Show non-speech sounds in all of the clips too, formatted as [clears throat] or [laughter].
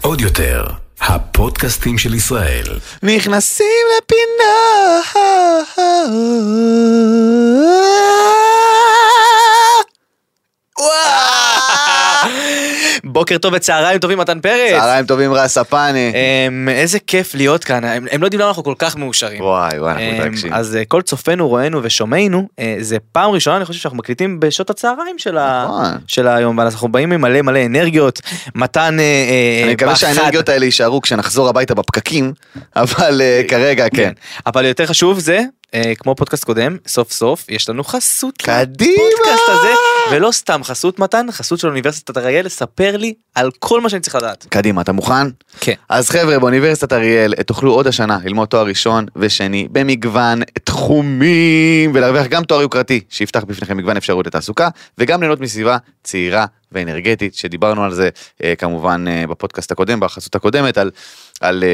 עוד יותר, הפודקאסטים של ישראל. נכנסים לפינה. בוקר טוב וצהריים טובים מתן פרץ. צהריים טובים רז ספני. אמ, איזה כיף להיות כאן, הם הם לא יודעים למה אנחנו כל כך מאושרים. וואי וואי אנחנו אמ, מתרגשים. אז אה, כל צופינו, רואינו ושומעינו, אה, זה פעם ראשונה אני חושב שאנחנו מקליטים בשעות הצהריים של ה- נכון. של היום, ואז אנחנו באים עם מלא מלא אנרגיות, מתן אה, אה, אני מקווה בחד. שהאנרגיות האלה יישארו כשנחזור הביתה בפקקים, אבל אה, כרגע כן. אבל יותר חשוב זה, אה, כמו פודקאסט קודם, סוף סוף יש לנו חסות. קדימה! לפודקאסט הזה, ולא סתם חסות מתן, חסות של אוניברסיטת אריאל, לספר לי על כל מה שאני צריך לדעת. קדימה, אתה מוכן? כן. אז חבר'ה, באוניברסיטת אריאל אה, תוכלו עוד השנה ללמוד תואר ראשון ושני במגוון תחומים ולהרוויח גם תואר יוקרתי שיפתח בפניכם מגוון אפשרות לתעסוקה וגם ליהנות מסביבה צעירה ואנרגטית שדיברנו על זה אה, כמובן אה, בפודקאסט הקודם, בחסות הקודמת, על, על אה,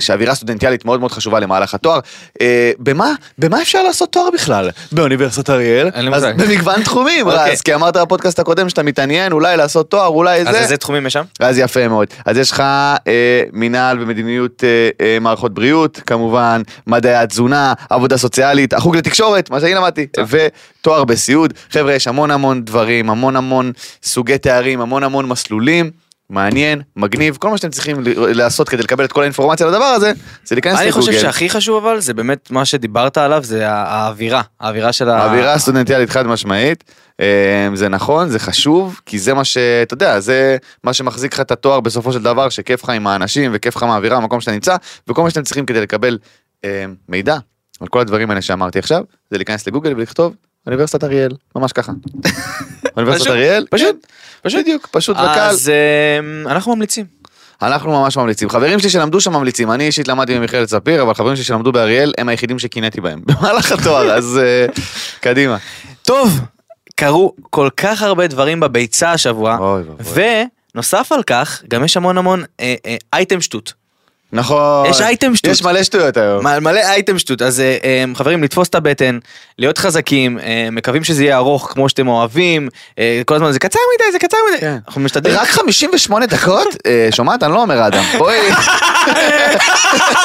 שאווירה סטודנטיאלית מאוד מאוד חשובה למהלך התואר. אה, במה, במה אפשר לעשות תואר בכלל באוניברסיטת אריאל? אין לי אז מושג. במגוון תחומים, אוקיי. רז, כי אמרת בפודקאסט הקודם שאתה מתעניין אולי לעשות תואר, אולי זה. אז איזה תחומים יש שם? אז יפה מאוד. אז יש לך אה, מינהל ומדיניות אה, אה, מערכות בריאות, כמובן, מדעי התזונה, עבודה סוציאלית, החוג לתקשורת, מה שאני למדתי, ותואר בסיעוד. חבר'ה, יש המון המון דברים, המון המון סוגי תארים, המון המון מסלולים. מעניין, מגניב, כל מה שאתם צריכים ל- לעשות כדי לקבל את כל האינפורמציה לדבר הזה, זה להיכנס אני לגוגל. חושב שהכי חשוב אבל זה באמת מה שדיברת עליו זה הא- האווירה, האווירה של ה... האווירה הסטודנטיאלית חד משמעית, אה, זה נכון, זה חשוב, כי זה מה ש... אתה יודע, זה מה שמחזיק לך את התואר בסופו של דבר, שכיף לך עם האנשים וכיף לך מהאווירה, המקום שאתה נמצא, וכל מה שאתם צריכים כדי לקבל אה, מידע על כל הדברים האלה שאמרתי עכשיו, זה להיכנס לגוגל ולכתוב אוניברסיטת אריאל, ממש [laughs] ככה. אוניברסיטת פשוט, אריאל, כן, פשוט, פשוט. אה, בדיוק, פשוט וקל. אז אמ, אנחנו ממליצים. אנחנו ממש ממליצים. חברים שלי שלמדו שם ממליצים, אני אישית למדתי במכללת ספיר, אבל חברים שלי שלמדו באריאל הם היחידים שקינאתי בהם [laughs] במהלך התואר, אז אה, קדימה. טוב, קרו כל כך הרבה דברים בביצה השבוע, אוי ואבוי. ונוסף על כך גם יש המון המון אה, אה, אייטם שטות. נכון. יש אייטם שטות. יש מלא שטויות היום. מ- מלא אייטם שטות, אז אה, אה, חברים לתפוס את הבטן, להיות חזקים, אה, מקווים שזה יהיה ארוך כמו שאתם אוהבים, אה, כל הזמן זה קצר מדי, זה קצר מדי, כן. אנחנו משתדלים. רק 58 דקות? אה, שומעת? אני לא אומר אדם. [laughs] אוי. אה, [laughs]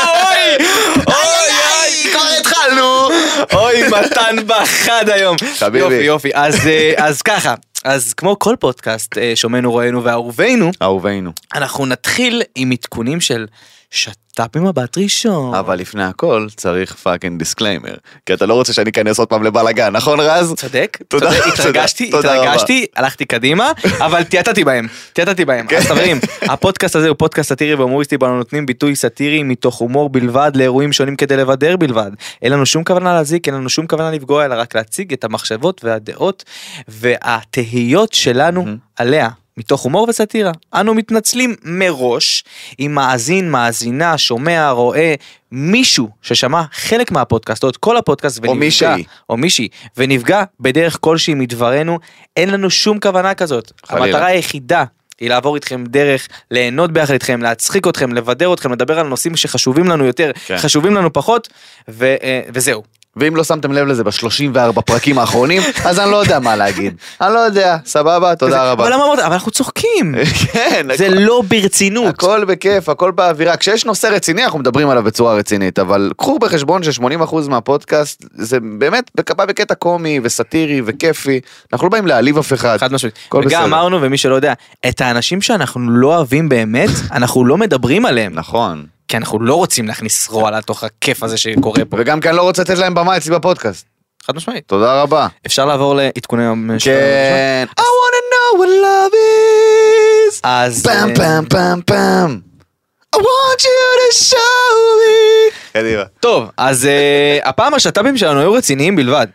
אוי, אוי, אוי, כבר התחלנו. אוי, מתן בחד היום. חביבי. יופי, יופי. אז, אה, אז ככה, אז כמו כל פודקאסט, אה, שומנו, רואינו ואהובינו, אהובינו. אנחנו נתחיל עם עדכונים של שת"פ ממבט ראשון. אבל לפני הכל צריך פאקינג דיסקליימר. כי אתה לא רוצה שאני אכנס עוד פעם לבלאגן, נכון רז? צודק, תודה, צודק, תודה, התרגשתי, תודה רבה. התרגשתי, הלכתי קדימה, אבל תיאטתי בהם, תיאטתי בהם. כן. אז חברים, הפודקאסט הזה הוא פודקאסט סאטירי והומוריסטי, בו אנו נותנים ביטוי סאטירי מתוך הומור בלבד לאירועים שונים כדי לבדר בלבד. אין לנו שום כוונה להזיק, אין לנו שום כוונה לפגוע, אלא רק להציג את המחשבות והדעות והתהיות שלנו עליה. מתוך הומור וסאטירה. אנו מתנצלים מראש אם מאזין, מאזינה, שומע, רואה מישהו ששמע חלק מהפודקאסט או את כל הפודקאסט או מישהי. או מישהי, ונפגע בדרך כלשהי מדברנו, אין לנו שום כוונה כזאת. חלילה. המטרה היחידה היא לעבור איתכם דרך, ליהנות ביחד איתכם, להצחיק אתכם, לבדר אתכם, לדבר על נושאים שחשובים לנו יותר, כן. כן. חשובים לנו פחות, ו, אה, וזהו. ואם לא שמתם לב לזה ב-34 פרקים האחרונים, אז אני לא יודע מה להגיד. אני לא יודע, סבבה, תודה רבה. אבל למה אמרת? אבל אנחנו צוחקים. [laughs] כן, זה [laughs] הכל- לא ברצינות. הכל בכיף, הכל באווירה. כשיש נושא רציני, אנחנו מדברים עליו בצורה רצינית, אבל קחו בחשבון ש-80% מהפודקאסט זה באמת בק- בא בקטע קומי וסאטירי וכיפי. אנחנו לא באים להעליב אף אחד. חד משמעית. הכל בסדר. וגם אמרנו, ומי שלא יודע, את האנשים שאנחנו לא אוהבים באמת, [laughs] אנחנו לא מדברים עליהם, נכון. כי אנחנו לא רוצים להכניס רוע לתוך הכיף הזה שקורה פה. וגם כי אני לא רוצה לתת להם במה אצלי בפודקאסט. חד משמעית. תודה רבה. אפשר לעבור לעדכוני יום של- כן. I אה, wanna know what love is. אז פעם אה, פעם פעם פעם. I want you to show me. קדימה. טוב אז אה, הפעם השת"פים שלנו היו רציניים בלבד.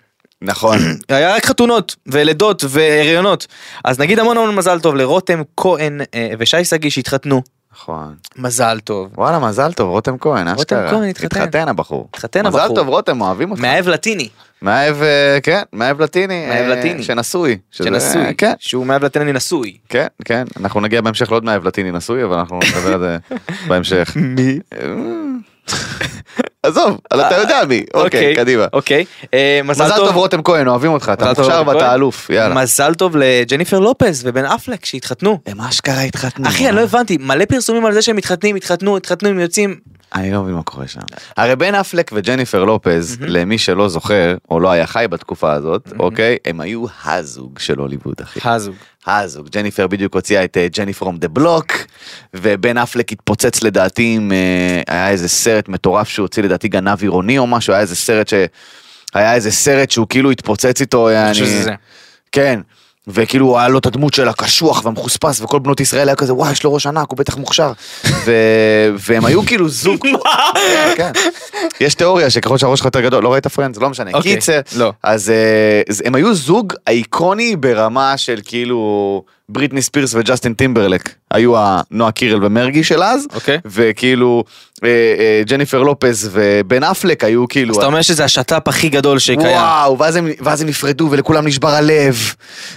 נכון. היה רק חתונות ולידות והריונות אז נגיד המון המון מזל טוב לרותם כהן אה, ושי שגיא שהתחתנו נכון. מזל טוב. וואלה, מזל טוב, רותם כהן, אשכרה. כהן התחתן. התחתן הבחור. התחתן מזל הבחור. טוב, רותם, אוהבים אותך. מאהב לטיני מאהב, אה, כן, מאהב לטיני. מאהב אה, לטיני. שנשוי. שזה- שנשוי כן, שהוא מאהב לטיני נשוי. כן, כן. אנחנו נגיע בהמשך לעוד [laughs] מאהב לטיני נשוי, אבל אנחנו נדבר על זה בהמשך. מי? [laughs] עזוב, אבל אתה יודע [laughs] מי. אוקיי, קדימה. אוקיי. אה, מזל טוב רותם כהן, אוהבים אותך, אתה מזל טוב, מוכשר רותם ואתה כהן. אלוף, יאללה. מזל טוב לג'ניפר לופז ובן אפלק שהתחתנו. הם אשכרה התחתנו. אחי, אני לא הבנתי, מלא פרסומים על זה שהם מתחתנים, התחתנו, התחתנו, הם יוצאים. אני לא מבין מה קורה שם. הרי בן אפלק וג'ניפר לופז, למי שלא זוכר, או לא היה חי בתקופה הזאת, אוקיי? הם היו הזוג של הוליווד, אחי. הזוג. הזוג. ג'ניפר בדיוק הוציאה את אה, ג'ני פרום דה בלוק, ובן אפלק התפוצץ לדעתי עם... אה, היה איזה סרט מטורף שהוא הוציא לדעתי גנב עירוני או משהו, היה איזה סרט ש... היה איזה סרט שהוא כאילו התפוצץ איתו, אני... חושב שזה זה. כן. וכאילו היה לו את הדמות של הקשוח והמחוספס וכל בנות ישראל היה כזה וואי יש לו ראש ענק הוא בטח מוכשר ו... והם היו כאילו זוג. [laughs] כן. יש תיאוריה שככל שהראש שלך יותר גדול לא ראית פרנדס לא משנה אוקיי, קיצר לא. אז אה, אז הם היו זוג אייקוני ברמה של כאילו בריטני ספירס וג'סטין טימברלק היו הנועה קירל ומרגי של אז אוקיי. וכאילו אה, אה, ג'ניפר לופז ובן אפלק היו כאילו אז אתה אומר שזה השת"פ הכי גדול שקיים. וואו, ואז הם, ואז הם נפרדו ולכולם נשבר הלב.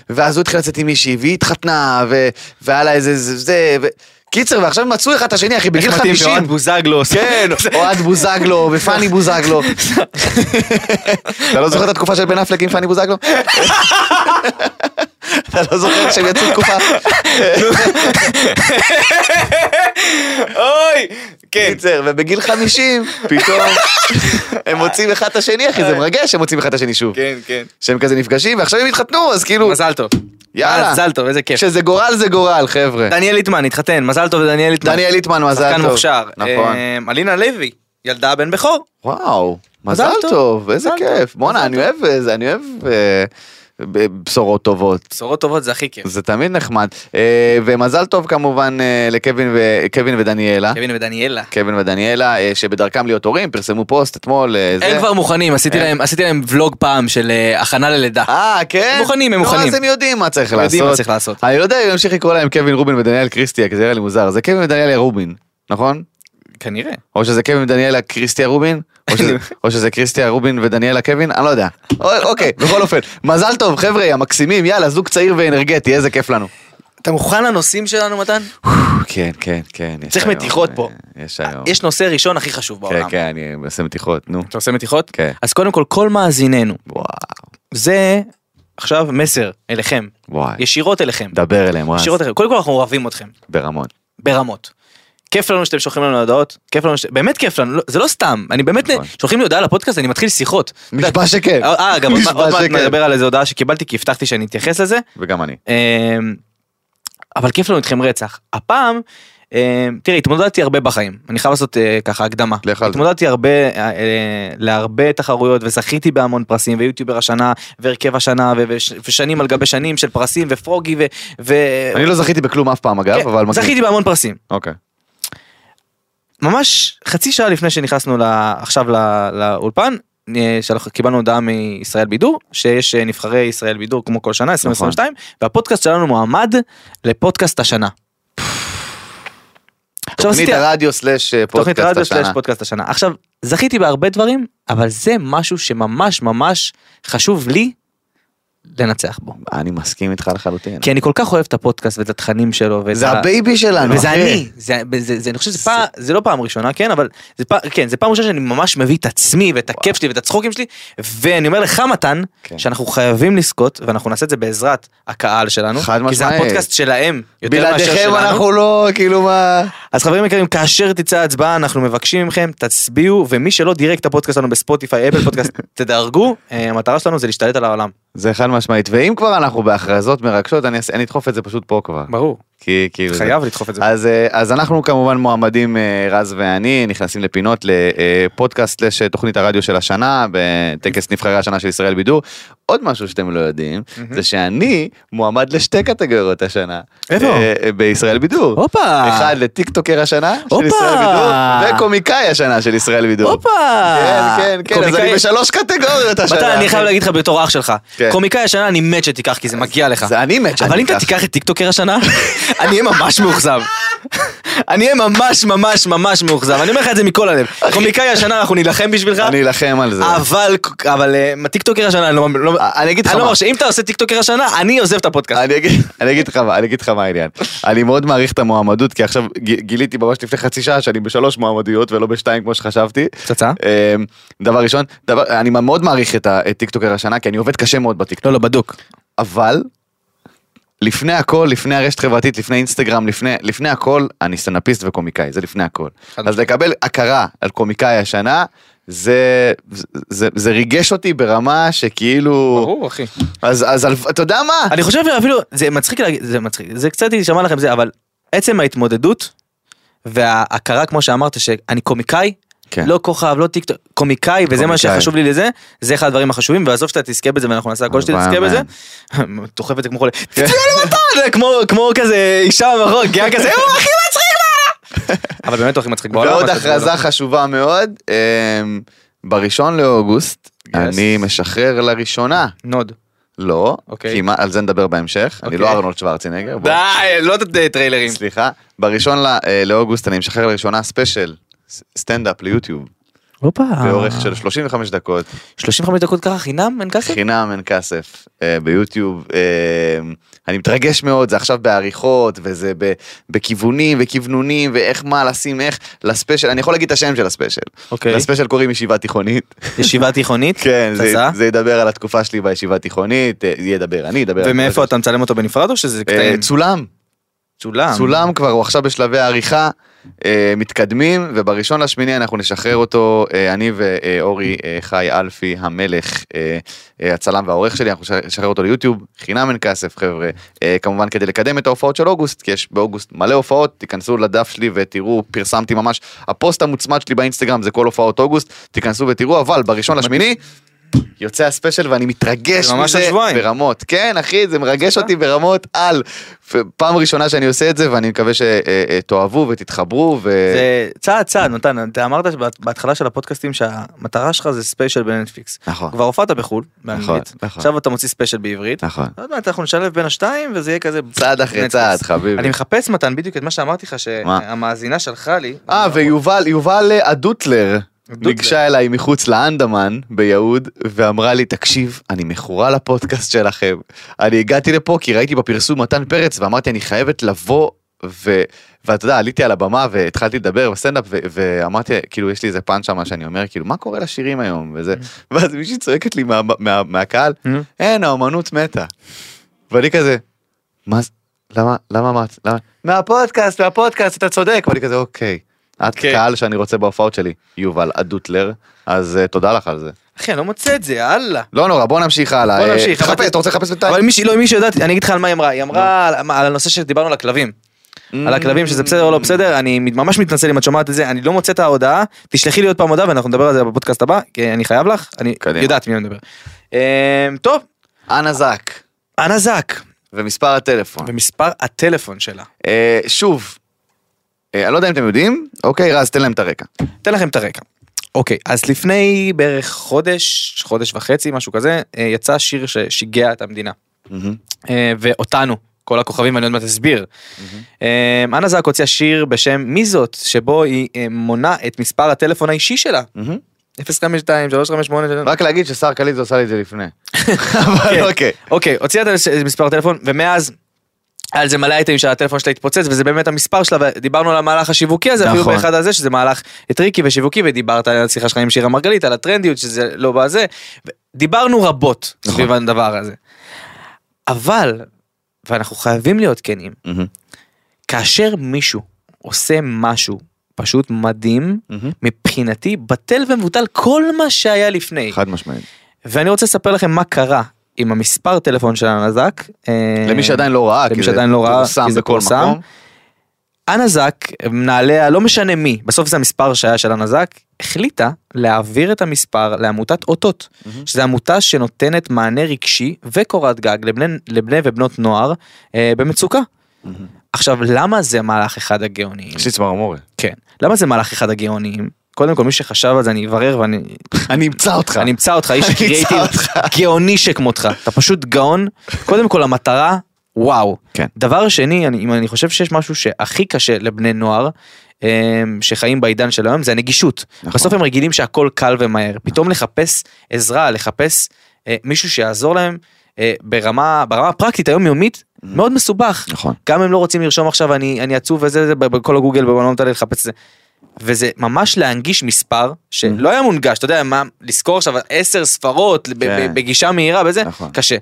ואז הוא התחיל לצאת עם מישהי והיא התחתנה ו, והיה לה איזה זה, זה ו... קיצר ועכשיו הם מצאו אחד את השני אחי בגיל איך מתאים 50. שאוהד בוזגלו עושה- כן, אוהד בוזגלו ופאני בוזגלו. אתה לא זוכר את התקופה של בן אפלק עם פאני בוזגלו? אתה לא זוכר שהם יצאו תקופה? אוי! כן. קיצר, ובגיל 50 פתאום הם מוצאים אחד את השני אחי, זה אה. מרגש שהם מוצאים אחד את השני שוב. כן, כן. שהם כזה נפגשים ועכשיו הם התחתנו אז כאילו, מזל טוב. יאללה. מזל טוב, איזה כיף. כשזה גורל זה גורל חבר'ה. כן. דניאל ליטמן, התחתן, מזל טוב לדניאל ליטמן. דניאל ליטמן, מזל טוב. שחקן מוכשר. נכון. אמ, אלינה לוי, ילדה בן בכור. וואו, מזל מזל טוב. טוב, איזה מזל כיף. טוב, בואנה, מזל אני אוהב איזה, אני אוהב אה, ב- בשורות טובות. בשורות טובות זה הכי כיף. זה תמיד נחמד. אה, ומזל טוב כמובן אה, לקווין ו- קווין ודניאלה. קווין ודניאלה. קווין ודניאלה, אה, שבדרכם להיות הורים, פרסמו פוסט אתמול. אה, זה. הם כבר מוכנים, עשיתי הם- להם- עשיתי להם ולוג פעם של אה, הכנה ללידה. אה, כן? הם מוכנים, הם נו, מוכנים. אז הם יודעים מה צריך הם לעשות. יודעים מה צריך לעשות. אני לא יודע אם ימשיך לקרוא להם קווין רובין ודניאל קריסטיה, כי זה נראה לי מוזר. זה קווין ודניאלה רובין, נכון? כנראה. או שזה קווין ודניאלה קריסטיה רובין, או שזה, [laughs] או שזה קריסטיה רובין ודניאלה קווין, אני לא יודע. או, אוקיי, בכל אופן, מזל טוב חבר'ה, המקסימים, יאללה, זוג צעיר ואנרגטי, איזה כיף לנו. אתה מוכן לנושאים שלנו, מתן? כן, כן, כן. יש צריך היום, מתיחות פה. אה, יש היום. יש נושא ראשון הכי חשוב כן, בעולם. כן, אני עושה מתיחות, נו. אתה עושה מתיחות? כן. אז קודם כל, כל מאזיננו, וואו, זה עכשיו מסר אליכם, וואי. ישירות אליכם. דבר אליהם, רז, ישירות אליכם. קודם כל, אנחנו אוהבים אתכם, ברמון. ברמות. כיף לנו שאתם שולחים לנו הודעות, כיף לנו, ש... באמת כיף לנו, לא- זה לא סתם, אני באמת, נכון. שולחים לי הודעה לפודקאסט, אני מתחיל שיחות. נשבע שכן. אה, אגב, עוד מעט- נשבע עוד מעט שכן. נדבר על איזה הודעה שקיבלתי, כי הבטחתי שאני אתייחס לזה. וגם אני. אמ, אבל כיף לנו איתכם רצח. הפעם, אמ, תראי, התמודדתי הרבה בחיים, אני חייב לעשות אה, ככה הקדמה. לך על זה. התמודדתי הרבה, אה, אה, להרבה תחרויות וזכיתי בהמון פרסים ויוטיובר השנה והרכב השנה ו- וש- ושנים על גבי שנים של פרסים ופרוגי ו... ו... אני לא זכיתי בכלום אף פעם אגב, כן, אבל... מגניב. זכיתי בהמון פרסים. אוקיי. ממש חצי שעה לפני שנכנסנו ל- עכשיו ל- לאולפן. אה, שלח- קיבלנו הודעה מישראל בידור שיש אה, נבחרי ישראל בידור כמו כל נכון. שנה 2022 והפודקאסט שלנו מועמד לפודקאסט השנה. עכשיו תוכנית עשיתי הרדיו סלאש אה, תוכנית פודקאסט רדיו סלאש השנה. פודקאסט השנה עכשיו זכיתי בהרבה דברים אבל זה משהו שממש ממש חשוב לי לנצח בו אני מסכים איתך לחלוטין. כי אני כל כך אוהב את הפודקאסט ואת התכנים שלו ואת זה ה- הבייבי שלנו, אה. וזה אחי. אני, זה, זה, זה, אני חושב שזה פעם, זה לא פעם ראשונה, כן, אבל זה פעם, כן, זה פעם ראשונה שאני ממש מביא את עצמי ואת הכיף שלי ואת הצחוקים שלי, ואני אומר לך מתן, כן. שאנחנו חייבים לזכות, ואנחנו נעשה את זה בעזרת הקהל שלנו, חד כי זה משמעית. הפודקאסט שלהם, יותר מאשר בלעדיכם שלנו. אנחנו לא, כאילו מה... אז חברים יקרים, כאשר תצא ההצבעה, אנחנו מבקשים מכם, תצביעו, ומי שלא דירק את הפודקאסט שלנו בספוטיפיי, [laughs] אפל פודקאסט, תדרגו, אה, המטרה שלנו זה להשתלט על העולם. זה חד משמעית, ואם כבר אנחנו בהכרזות מרגשות, אני אעשה- אני אדחוף את זה פשוט פה כבר. ברור, כי כאילו... זה- חייב לדחוף את זה. אז, אה, אז אנחנו כמובן מועמדים, אה, רז ואני, נכנסים לפינות לפודקאסט סלש אה, תוכנית הרדיו של השנה, בטקס נבחרי השנה של ישראל בידור. עוד משהו שאתם לא יודעים, זה שאני מועמד לשתי קטגוריות השנה. איפה? אה, אה, בישראל בידור. הופה! אחד לטיקטוקר השנה של הופה. ישראל בידור, וקומיקאי השנה של ישראל בידור. הופה! כן, כן, כן, אז אני אה, קומיקאי- בשלוש קטגוריות השנה. מתן, אני אחי. חייב להגיד לך בתור אח שלך, כן. קומיקאי השנה אני מת שתיקח כי זה מגיע לך. זה אני מת שאני אבל אם אתה אקח. [laughs] תיקח את טיקטוקר השנה, אני אהיה ממש מאוכזב. אני אהיה ממש ממש ממש מאוכזב, אני אומר לך את זה מכל הלב. קומיקאי השנה אנחנו נילחם בשבילך, אני אלחם על זה. אבל, אבל אה, טיקטוקר השנה, אני לא, לא, אני אגיד לך אני לא מה. מרשה, אם אתה עושה טיקטוקר השנה, אני עוזב את הפודקאסט. אני אגיד, אני אגיד לך מה, אני אגיד לך מה העניין. אני מאוד מעריך את המועמדות, כי עכשיו ג- גיליתי ממש לפני חצי שעה שאני בשלוש מועמדויות ולא בשתיים כמו שחשבתי. פצצה? אמ, דבר ראשון, דבר, אני מאוד מעריך את, ה- את טיקטוקר השנה, כי אני עובד קשה מאוד בטיקטוק. לא, לא, בדוק. אבל לפני הכל, לפני הרשת חברתית, לפני אינסטגרם, לפני, לפני הכל, אני סטנדאפיסט וקומיקאי, זה לפני הכל. חד אז לקבל הכרה על קומיקאי השנה, זה, זה, זה, זה ריגש אותי ברמה שכאילו... ברור, אחי. אז, אז על- אתה יודע מה? אני חושב אפילו, זה מצחיק להגיד, זה מצחיק, זה קצת יישמע לכם זה, אבל עצם ההתמודדות וההכרה, כמו שאמרת, שאני קומיקאי, כן. לא כוכב, לא טיקטוק, קומיקאי, וזה מה קומיקאי. שחשוב לי לזה, זה אחד הדברים החשובים, ועזוב שאתה תזכה בזה, ואנחנו נעשה הכל אבל שתזכה בזה. [laughs] דוחף את זה כמו חולה, תצא למטה, כמו- כמו כזה אישה במחור, גאה כזה, הוא הכי מצחיק [laughs] בעולם! אבל באמת הוא הכי מצחיק בעולם. ועוד מה לא, שאתה אומר. הכרזה חשובה מאוד, אמ, בראשון לאוגוסט, Yes. אני משחרר לראשונה. נוד. לא, אוקיי. כי מה- על זה נדבר בהמשך, אני אוקיי. לא ארנולד שוורצינגר. בוא. די, לא את הטריילרים. סליחה, בראשון לא- אה, לאוגוסט אני משחרר לראשונה ספיישל, ס- סטנדאפ ליוטיוב, הופה. באורך של 35 דקות, 35 דקות ככה חינם, אין כסף? חינם אין כסף, אה, ביוטיוב. אה, אני מתרגש מאוד, זה עכשיו בעריכות, וזה ב- בכיוונים וכוונונים, ואיך מה לשים איך, לספיישל, אני יכול להגיד את השם של הספיישל. אוקיי. לספיישל קוראים ישיבה תיכונית. [laughs] ישיבה תיכונית? כן, זה- פצצה? זה ידבר על התקופה שלי בישיבה התיכונית, אה, ידבר אני, ידבר... על- ומאיפה אתה מצלם אותו בנפרד או שזה אה, קטעים? צולם. צולם. צולם כבר, הוא עכשיו בשלבי העריכה, אה, מתקדמים, ובראשון לשמיני אנחנו נשחרר אותו, אה, אני ואורי אה, חי אלפי המלך, אה, אה, הצלם והעורך שלי, אנחנו נשחרר- נשחרר אותו ליוטיוב, חינם אין כסף חבר'ה, אה, כמובן כדי לקדם את ההופעות של אוגוסט, כי יש באוגוסט מלא הופעות, תיכנסו לדף שלי ותראו, פרסמתי ממש, הפוסט המוצמד שלי באינסטגרם זה כל הופעות אוגוסט, תיכנסו ותראו, אבל בראשון לשמיני... יוצא הספיישל ואני מתרגש זה ממש מזה עוד שבועיים. ברמות. כן, אחי, זה מרגש אותי ברמות על. פעם ראשונה שאני עושה את זה, ואני מקווה שתאהבו ותתחברו, ו... זה צעד צעד נתן אתה אמרת שבהת- בהתחלה של הפודקאסטים שהמטרה שלך זה ספיישל בנטפליקס. נכון. כבר הופעת בחול באנגלית נכון, נכון. עכשיו אתה מוציא ספיישל בעברית. נכון. עוד מעט אנחנו נשלב בין השתיים וזה יהיה כזה צעד אחרי נטפליקס. צעד, חביבי. אני מחפש מתן בדיוק את מה שאמרתי לך מה? שהמאזינה שלחה לי. לא, אה, ויובל, יובל אה, הדוטלר הדוטלר. ניגשה אליי מחוץ לאנדמן ביהוד, ואמרה לי, תקשיב, אני מכורה לפודקאסט שלכם. אני הגעתי לפה כי ראיתי בפרסום מתן פרץ, ואמרתי, אני חייבת לבוא, ו... ואתה יודע, עליתי על הבמה והתחלתי לדבר בסטנדאפ, ו... ואמרתי, כאילו, יש לי איזה פאנץ' שם שאני אומר, כאילו, מה קורה לשירים היום, וזה, ואז מישהי צועקת לי מה... מה... מהקהל, אין, האומנות מתה. ואני כזה, מה זה, למה, למה אמרת, למה, מהפודקאסט, מהפודקאסט, אתה צודק, ואני כזה, אוקיי. את אוקיי. קהל שאני רוצה בהופעות שלי, יובל אדוטלר, אז אה, תודה לך על זה. אחי אני לא מוצא את זה יאללה. לא נורא, בוא נמשיך הלאה. בוא אה, נמשיך, תחפש, אבל- אתה רוצה לחפש אבל בינתיים? מישהי לא מישהי יודעת אני אגיד לך על מה היא אמרה היא אמרה על- על הנושא שדיברנו על הכלבים. Mm. על הכלבים שזה בסדר או לא בסדר, אני ממש מתנצל אם את שומעת את זה, אני לא מוצא את ההודעה, תשלחי לי עוד פעם הודעה ואנחנו נדבר על זה בפודקאסט הבא, כי אני חייב לך, אני קדימה. יודעת מי אני מדבר. אמ, טוב, אנה זק, אנה זק, ומספר הטלפון. ומספר הטלפון שלה. אה, שוב, אה, אני לא יודע אם אתם יודעים, אוקיי, רז, תן להם את הרקע. אתן לכם את הרקע. אוקיי, אז לפני בערך חודש, חודש וחצי, משהו כזה, אה, יצא שיר ששיגע את המדינה. אה, ואותנו, כל הכוכבים, אני עוד מעט אסביר. אה, אנה זק הוציאה שיר בשם מי זאת, שבו היא אה, מונה את מספר הטלפון האישי שלה. 052 358 רק להגיד ששר קליזו עשה לי את זה [laughs] לפני. אבל כן. אוקיי. אוקיי, הוציאה את הש- את מספר הטלפון, ומאז... היה על זה מלא אייטמים שהטלפון שלה התפוצץ וזה באמת המספר שלה ודיברנו על המהלך השיווקי הזה אפילו נכון. באחד הזה שזה מהלך טריקי ושיווקי ודיברת על השיחה שלך עם שירה מרגלית על הטרנדיות שזה לא בזה. ו- דיברנו רבות נכון. סביב הדבר הזה. אבל ואנחנו חייבים להיות כנים מהמם, כאשר מישהו עושה משהו פשוט מדהים מהמם. מבחינתי בטל ומבוטל כל מה שהיה לפני חד משמעית. ואני רוצה לספר לכם מה קרה עם המספר טלפון של הנזק. אה, למי שעדיין לא ראה, למי כי זה שעדיין לא ראה, פורסם כי זה בכל פורסם. מקום. הנזק, מנהליה, לא משנה מי, בסוף זה המספר שהיה של הנזק, החליטה להעביר את המספר לעמותת אותות, שזו עמותה שנותנת מענה רגשי וקורת גג לבני, לבני ובנות נוער אה, במצוקה. עכשיו, למה זה מהלך אחד הגאוניים? יש לי צמרמורת. כן. למה זה מהלך אחד הגאוניים? קודם כל, מי שחשב על זה, אני אברר ואני אני אמצא אותך. אני אמצא אותך, איש אני אמצא קריאיטיב אותך. גאוני שכמותך, אתה פשוט גאון. קודם כל המטרה וואו. כן. דבר שני, אני, אם אני חושב שיש משהו שהכי קשה לבני נוער, אמ, שחיים בעידן של היום, זה הנגישות. נכון. בסוף הם רגילים שהכל קל ומהר. פתאום לחפש עזרה, לחפש אה, מישהו שיעזור להם אה, ברמה, ברמה הפרקטית היומיומית, מאוד מסובך. נכון. גם הם לא רוצים לרשום עכשיו אני, אני עצוב וזה זה ב- בכל הגוגל ואני לא מתעלה לחפש את זה. וזה ממש להנגיש מספר שלא היה מונגש אתה יודע מה לזכור עכשיו עשר ספרות ב- כן. ב- בגישה מהירה וזה נכון. קשה.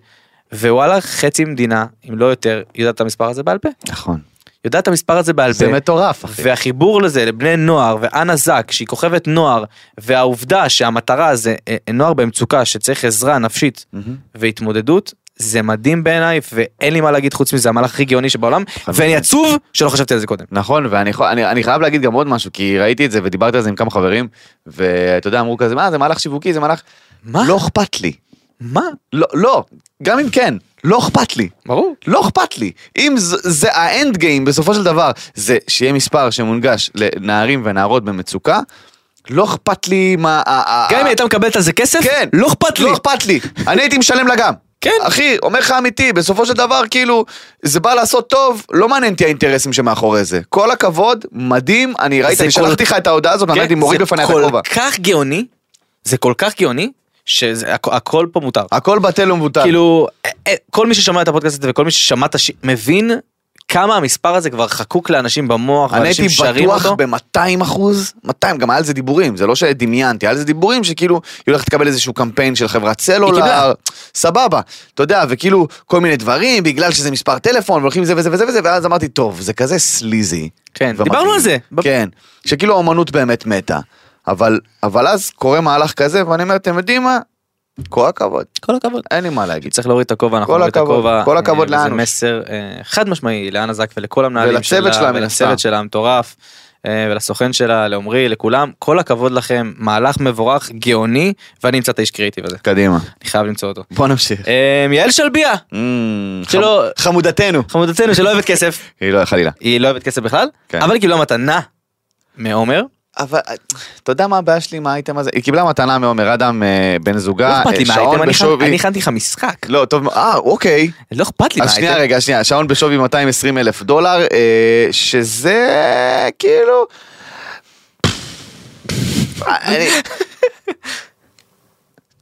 ווואלה חצי מדינה אם לא יותר יודעת את המספר הזה בעל פה נכון. יודעת את המספר הזה בעל פה. זה מטורף, אחי. והחיבור לזה לבני נוער ואנה זק שהיא כוכבת נוער והעובדה שהמטרה זה אה, נוער במצוקה שצריך עזרה נפשית והתמודדות זה מדהים בעיניי ואין לי מה להגיד חוץ מזה המהלך הכי גאוני שבעולם ואני עצוב שלא חשבתי על זה קודם. נכון, ואני יכול- אני- אני חייב להגיד גם עוד משהו, כי ראיתי את זה ודיברתי על זה עם כמה חברים, ואתה יודע, אמרו כזה, מה, זה מהלך שיווקי, זה מהלך... מה? לא אכפת לי. מה? לא, לא, גם אם כן, לא אכפת לי. ברור. לא אכפת לי. אם ז- זה האנד גיים בסופו של דבר, זה שיהיה מספר שמונגש לנערים ונערות במצוקה, לא אכפת לי מה... ה- ה- גם ה- אם היא הייתה מקבלת על זה כסף? אה, כן. לא אכפת לי. לא אכפת לי. אני הייתי משלם לה גם. כן. אחי, אומר לך אמיתי, בסופו של דבר, כאילו, זה בא לעשות טוב, לא מעניין אותי האינטרסים שמאחורי זה. כל הכבוד, מדהים, אני ראיתי, זה אני כל- שלחתי לך את ההודעה הזאת, כן, ואמרתי, מוריד בפניה את הכובע. זה כל כך גאוני, זה כל כך גאוני, שהכל פה מותר. הכל בטל ומבוטל. כאילו, אה, אה, כל מי ששמע את הפודקאסט הזה וכל מי ששמע את הש... מבין כמה המספר הזה כבר חקוק לאנשים במוח, אני הייתי ואנשים שרים בטוח אותו. ב-200 אחוז, 200, גם היה על זה דיבולים, זה לא שדמיינתי, היה על זה דיבורים שכאילו, היא הולכת לקבל איזשהו קמפיין של חברת קיבלה. סלולר, סבבה, אתה יודע, וכאילו כל מיני דברים, בגלל שזה מספר טלפון, והולכים זה וזה וזה וזה, ואז אמרתי, טוב, זה כזה סליזי. כן, ומגעיל." דיברנו על זה. ב- כן, שכאילו האומנות באמת מתה. אבל, אבל אז קורה מהלך כזה, ואני אומר, אתם יודעים מה? כל הכבוד, כל הכבוד. אין לי מה להגיד. צריך להוריד את הכובע, אנחנו כל נוריד את הכבוד, הכובע. כל הכבוד אה, וזה לאנוש. מסר אה, חד משמעי לאנה זק ולכל המנהלים ולצוות שלה, מן הסתם. ולצוות שלה המטורף, אה, ולסוכן שלה, לעומרי, לכולם. כל הכבוד לכם, מהלך מבורך, גאוני, ואני אמצא את האיש קריאיטיב הזה, קדימה. אני חייב למצוא אותו. בוא נמשיך. אה, יעל שלביה, אמ, שלא- חמ- חמודתנו. חמודתנו שלא אוהבת [laughs] כסף, היא לא, חלילה. היא לא אוהבת כסף בכלל, כן. אה, אבל היא קיבלה מתנה מעומר. אבל אתה יודע מה הבעיה שלי עם האייטם הזה? היא קיבלה מתנה מעומר אדם, אה, בן לא זוגה, אכפת לי אה, מהאייטם, שעון אני הכנ- אני בשווי... הכנתי לך משחק. לא, טוב, מאוד. אה, אוקיי. לא אכפת לי אז שנייה מהאייטם. רגע, שנייה, שעון בשווי 220 אלף דולר, אה, שזה כאילו... אה, אני-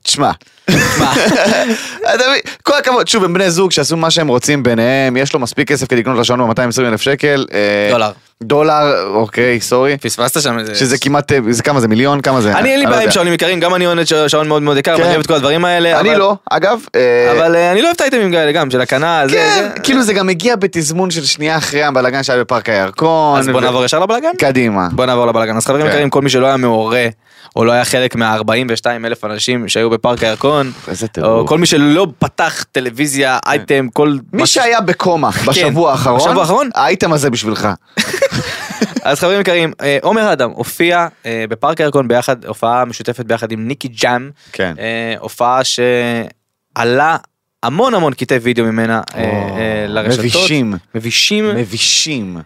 תשמע, [laughs] אתה מבין? כל הכבוד, שוב, הם בני זוג שעשו מה שהם רוצים ביניהם, יש לו מספיק כסף כדי לקנות לשעון ב-220 אלף שקל. אה, דולר. דולר, אוקיי, סורי. פספסת שם איזה... שזה כמעט, אה, זה כמה זה, מיליון? כמה זה? אני אין לי לא בעיה עם יודע. שעונים יקרים, גם אני אוהב שעון מאוד מאוד יקר, כן. ואני אוהב את כל הדברים האלה. אני אבל- לא, אגב, אה, אבל אה, אני לא אוהב את האייטמים האלה גם, של הקנה, זה... כן, זה- כאילו זה גם הגיע בתזמון של שנייה אחרי הבלאגן שהיה בפארק הירקון. אז בוא ו- נעבור ישר לבלאגן? קדימה. בוא נעבור לבלאגן. אז חברים כן. יקרים, כל מי שלא היה מעורה, או לא היה חלק מה-42 אלף אנשים שהיו בפארק הירקון, איזה או טירוף. כל מי שלא פתח טלוויזיה, אייטם, כל... מי שהיה בקומה בשבוע האחרון, כן, בשבוע האחרון? האייטם הזה בשבילך. אז חברים יקרים, אה, עומר אדם הופיע אה, בפארק הירקון ביחד, הופעה משותפת ביחד עם ניקי ג'אם, כן. אה, הופעה שעלה המון המון קטעי וידאו ממנה אה, אה, לרשתות. מבישים. מבישים. מבישים.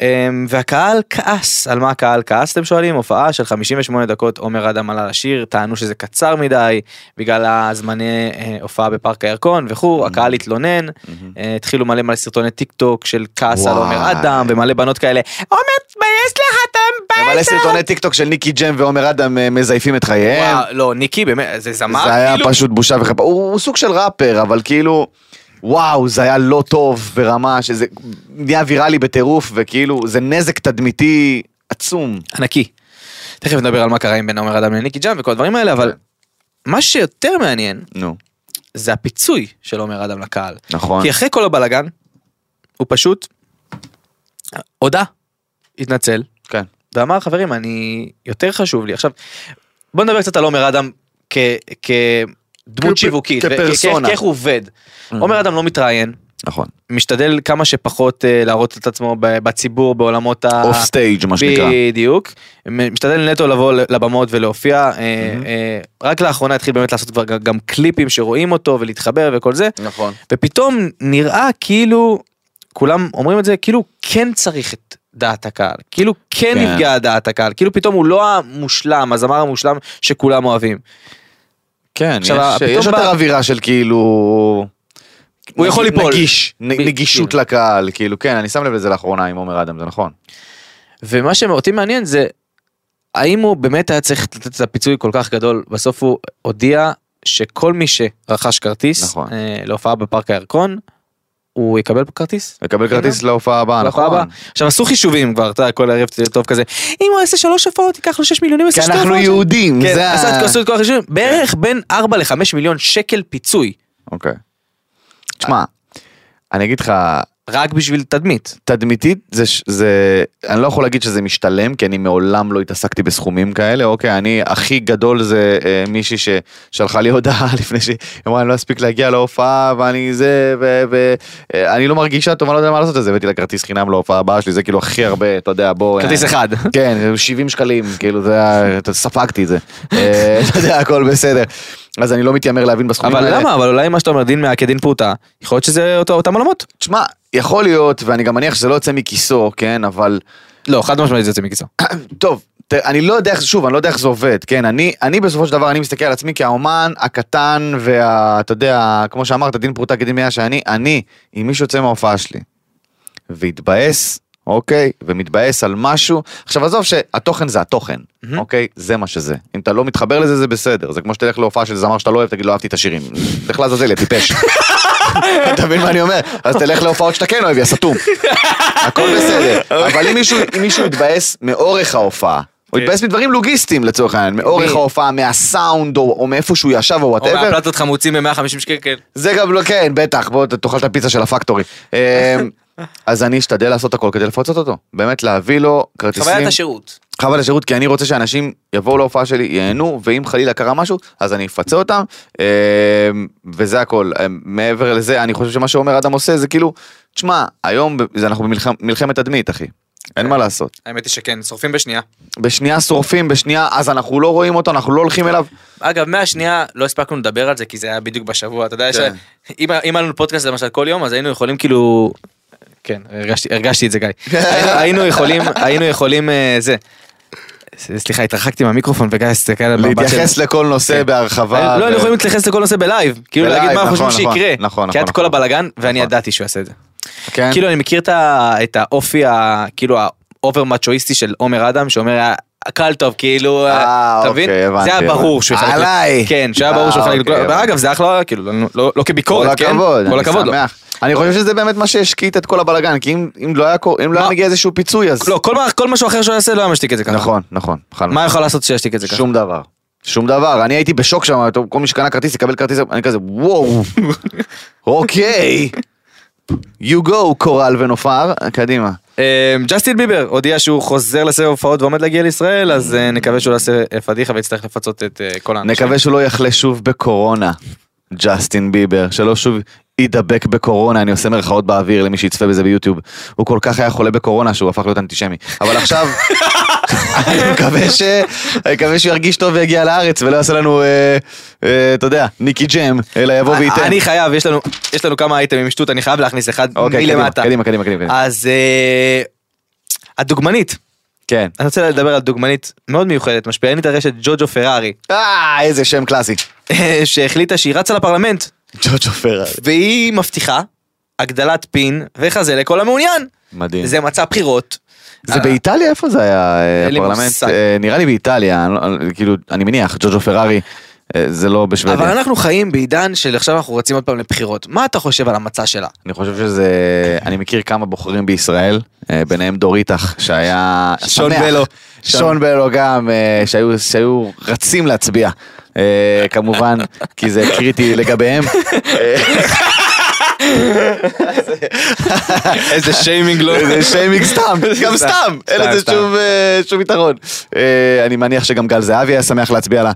אה, והקהל כעס, על מה הקהל כעס אתם שואלים? הופעה של 58 דקות עומר אדם עלה לשיר, טענו שזה קצר מדי בגלל הזמני אה, הופעה בפארק הירקון Mm-hmm. וכו', הקהל התלונן, אה, התחילו מלא מלא סרטוני טיק טוק של כעס על וואי. עומר אדם ומלא בנות כאלה, עומר תתבייש לך אתה מבייש מלא לך." סרטוני טיק טוק של ניקי ג'ם ועומר אדם אה, מזייפים את חייהם. וואו, לא, ניקי באמת, זה זמר זה היה כאילו? פשוט בושה וחרפה. הוא הוא סוג של ראפר, אבל כאילו... וואו, זה היה לא טוב ברמה שזה נהיה ויראלי בטירוף, וכאילו זה נזק תדמיתי עצום. ענקי. תכף נדבר על מה קרה עם בין עומר אדם לניקי ג'אם וכל הדברים האלה, אבל כן. מה שיותר מעניין נו, זה הפיצוי של עומר אדם לקהל. נכון. כי אחרי כל הבלגן, הוא פשוט הודה, התנצל, כן. ואמר חברים אני יותר חשוב לי. עכשיו בוא נדבר קצת על עומר אדם כ... כדמות כפ- שיווקית, ו- כפרסונה. כ- כאיך הוא עובד. Mm-hmm. עומר אדם לא מתראיין, נכון. משתדל כמה שפחות אה, להראות את עצמו ב- בציבור בעולמות ה... אוף סטייג' מה שנקרא. בדיוק. מ- משתדל נטו לבוא ל- לבמות ולהופיע. אה, Mm-hmm. אה, רק לאחרונה התחיל באמת לעשות כבר ג- גם קליפים שרואים אותו ולהתחבר וכל זה. נכון. ופתאום נראה כאילו, כולם אומרים את זה, כאילו כן צריך את דעת הקהל. כאילו כן כן. נפגעה דעת הקהל. כאילו פתאום הוא לא המושלם, הזמר המושלם שכולם אוהבים. כן, עכשיו, יש- פתאום יש יותר בא- אווירה של כאילו... הוא יכול ליפול. נגיש, נ- ב- נגישות לקהל, כאילו, כן, אני שם לב לזה לאחרונה עם עומר אדם, זה נכון. ומה שאותי מעניין זה, האם הוא באמת היה צריך לתת את הפיצוי כל כך גדול, בסוף הוא הודיע שכל מי שרכש כרטיס נכון. אה, להופעה בפארק הירקון, הוא יקבל כרטיס. לקבל כרטיס להופעה הבאה, להופעה נכון. הבאה. עכשיו עשו חישובים כבר, אתה יודע, כל ערב טוב כזה, אם הוא יעשה שלוש הופעות ייקח לו שש מיליון, אם הוא כי יעשה שתי אנחנו הופעות. יהודים, כן, זה ה... עשה את עשו את כל החישובים, בערך בין 4 ל-5 מיליון שקל פיצוי, אוקיי. תשמע, אני אגיד לך, רק בשביל תדמית. תדמיתית זה, ש- זה, אני לא יכול להגיד שזה משתלם, כי אני מעולם לא התעסקתי בסכומים כאלה, אוקיי, אני הכי גדול זה אה, מישהי ששלחה לי הודעה [laughs] לפני שהיא אמרה, אני לא אספיק להגיע להופעה, ואני זה, ואני לא מרגישה טוב, אני לא יודע מה לעשות, אז הבאתי לה כרטיס חינם להופעה הבאה שלי, זה כאילו הכי הרבה, אתה יודע, בוא... כרטיס אה, אחד. כן, 70 שקלים, כאילו, זה היה, אתה- ספגתי את זה. אה, [laughs] אתה יודע, הכל בסדר. אז אני לא מתיימר להבין בסכומים האלה. אבל למה? אבל אולי מה שאתה אומר, דין מאה כדין פרוטה, יכול להיות שזה אותו- אותם עולמות. תשמע, יכול להיות, ואני גם מניח שזה לא יוצא מכיסו, כן, אבל... [clears throat] לא, חד משמעית זה יוצא מכיסו. טוב, ת- אני לא יודע איך, שוב, אני לא יודע איך זה עובד, כן, אני, אני בסופו של דבר, אני מסתכל על עצמי כהאומן הקטן וה... אתה יודע, כמו שאמרת, דין פרוטה כדין מאה שאני, אני, אם מישהו יוצא מההופעה שלי והתבאס, אוקיי, ומתבאס על משהו, עכשיו עזוב שהתוכן זה התוכן, אוקיי, זה מה שזה. אם אתה לא מתחבר לזה, זה בסדר, זה כמו שתלך להופעה של זמר שאתה לא אוהב, תגיד לא אהבתי את השירים. לך לעזאזל, יא טיפש. אתה מבין מה אני אומר? אז תלך להופעות שאתה כן אוהב, יא סתום. הכל בסדר. אבל אם מישהו, אם מישהו יתבאס מאורך ההופעה, הוא יתבאס מדברים לוגיסטיים לצורך העניין, מאורך מ- ההופעה, מהסאונד, או או מאיפה שהוא ישב, או או וואטאבר, מהפלטות חמוצים ב-150 שקל. זה גם לא, כן, בטח, בוא ת- תאכל את הפיצה של הפקטורי. [laughs] אמ, אז אני אשתדל לעשות הכל כדי לפצות אותו. באמת להביא לו כרטיסים. חוויית השירות. חבל השירות, כי אני רוצה שאנשים יבואו להופעה שלי, ייהנו, ואם חלילה קרה משהו, אז אני אפצה אותם, אמ, וזה הכל. אמ, מעבר לזה, אני חושב שמה שאומר אדם עושה זה כאילו, תשמע, היום ב- זה- אנחנו במלחמת מלחמת תדמית, אחי. אין מה לעשות. האמת היא שכן, שורפים בשנייה. בשנייה שורפים, בשנייה, אז אנחנו לא רואים אותו, אנחנו לא הולכים אליו. אגב, מהשנייה לא הספקנו לדבר על זה, כי זה היה בדיוק בשבוע, אתה יודע, יש- כן. אם אם היה לנו פודקאסט למשל כל יום, אז היינו יכולים כאילו... כן, הרגשתי- הרגשתי את זה, גיא. היינו- היינו יכולים, היינו יכולים, אה, זה. ס- סליחה, התרחקתי מהמיקרופון וגיא הסתכל על המבט להתייחס לכל נושא כן. בהרחבה. שלי. לא, ו- היינו יכולים להתייחס לכל נושא בלייב. כאילו בלייב, להגיד מה אנחנו נכון, חושבים נכון, שיקרה. נכון, כי היה את נכון, כל נכון. הבלאגן, ואני נכון. ידעתי שהוא יעשה את זה. כן. כאילו אני מכיר את ה- את האופי, ה- כאילו האובר מצ'ואיסטי של עומר אדם, שאומר, "אה, הקהל טוב, כאילו, אה, אה, אתה מבין? אוקיי, הבנתי, זה היה הבנתי. ברור שהוא יחלק. עליי. כן, שהיה ברור אה, שהוא יחלק. אוקיי, לכולם. הבנתי. ואגב, זה אחלה, כאילו, לא- לא- כל לא כביקורת, כן? הכבוד, כל אני הכבוד. לא. שמח. אני חושב שזה באמת מה שהשקיט את כל הבלאגן, כי אם- אם לא היה קור- אם לא היה מה- מגיע איזשהו פיצוי, אז... לא, כל מה- כל משהו אחר שהוא יעשה לא היה משתיק את זה ככה. נכון, נכון. חד מה יכול לעשות שישתיק את זה ככה? שום דבר. שום דבר, אני הייתי בשוק שם, טוב, כל מי שקנה כרטיס יקבל כרטיס, אני כזה [laughs] וואו, אוקיי, you go קורל ונופר, קדימה. אה, ג'סטין ביבר הודיע שהוא חוזר לסבב הופעות ועומד להגיע לישראל, אז אה, נקווה שהוא לא יעשה פדיחה ויצטרך לפצות את אה, כל האנשים. נקווה שהוא לא יחלה שוב בקורונה, ג'סטין ביבר, שלא שוב יידבק בקורונה, אני עושה מירכאות באוויר למי שיצפה בזה ביוטיוב. הוא כל כך היה חולה בקורונה שהוא הפך להיות אנטישמי, אבל עכשיו, אני מקווה ש- אני מקווה שהוא ירגיש טוב ויגיע לארץ ולא יעשה לנו, אה, אה, אתה יודע, ניקי ג'ם, אלא יבוא וייתן. אני חייב, יש לנו- יש לנו כמה אייטמים שטות, אני חייב להכניס אחד אוקיי, קדימה, מלמטה. קדימה, קדימה, קדימה, קדימה. אז אה, הדוגמנית, כן. אני רוצה לדבר על דוגמנית מאוד מיוחדת, משפיענית הרשת ג'וג'ו פרארי, [laughs] אה, איזה שם קלאסי. שהחליטה שהיא רצה לפרלמנט, ג'וג'ו פרארי. והיא מבטיחה הגדלת פין וחזה לכל המעוניין. מדהים. זה מצע בחירות. זה באיטליה? איפה זה היה אה, אה, אין לי הפרלמנט? מושג. אה, נראה לי באיטליה, אני לא- אני- כאילו, אני מניח, ג'וג'ו פרארי, אה, זה לא אבל בשוודיה. אנחנו חיים בעידן של עכשיו אנחנו רצים עוד פעם לבחירות. מה אתה חושב על המצע שלה? אני חושב שזה, אני מכיר כמה בוחרים בישראל, אה, ביניהם דור איתך, שהיה שון שמח. בלו. שון בלו גם, אה, שהיו- שהיו רצים להצביע. אה, כמובן, כי זה קריטי לגביהם. איזה שיימינג לא... זה שיימינג סתם, [laughs] גם סתם, אין לזה סתם. שום, אה, שום יתרון. אה, אני מניח שגם גל זהבי היה שמח להצביע [laughs] לה.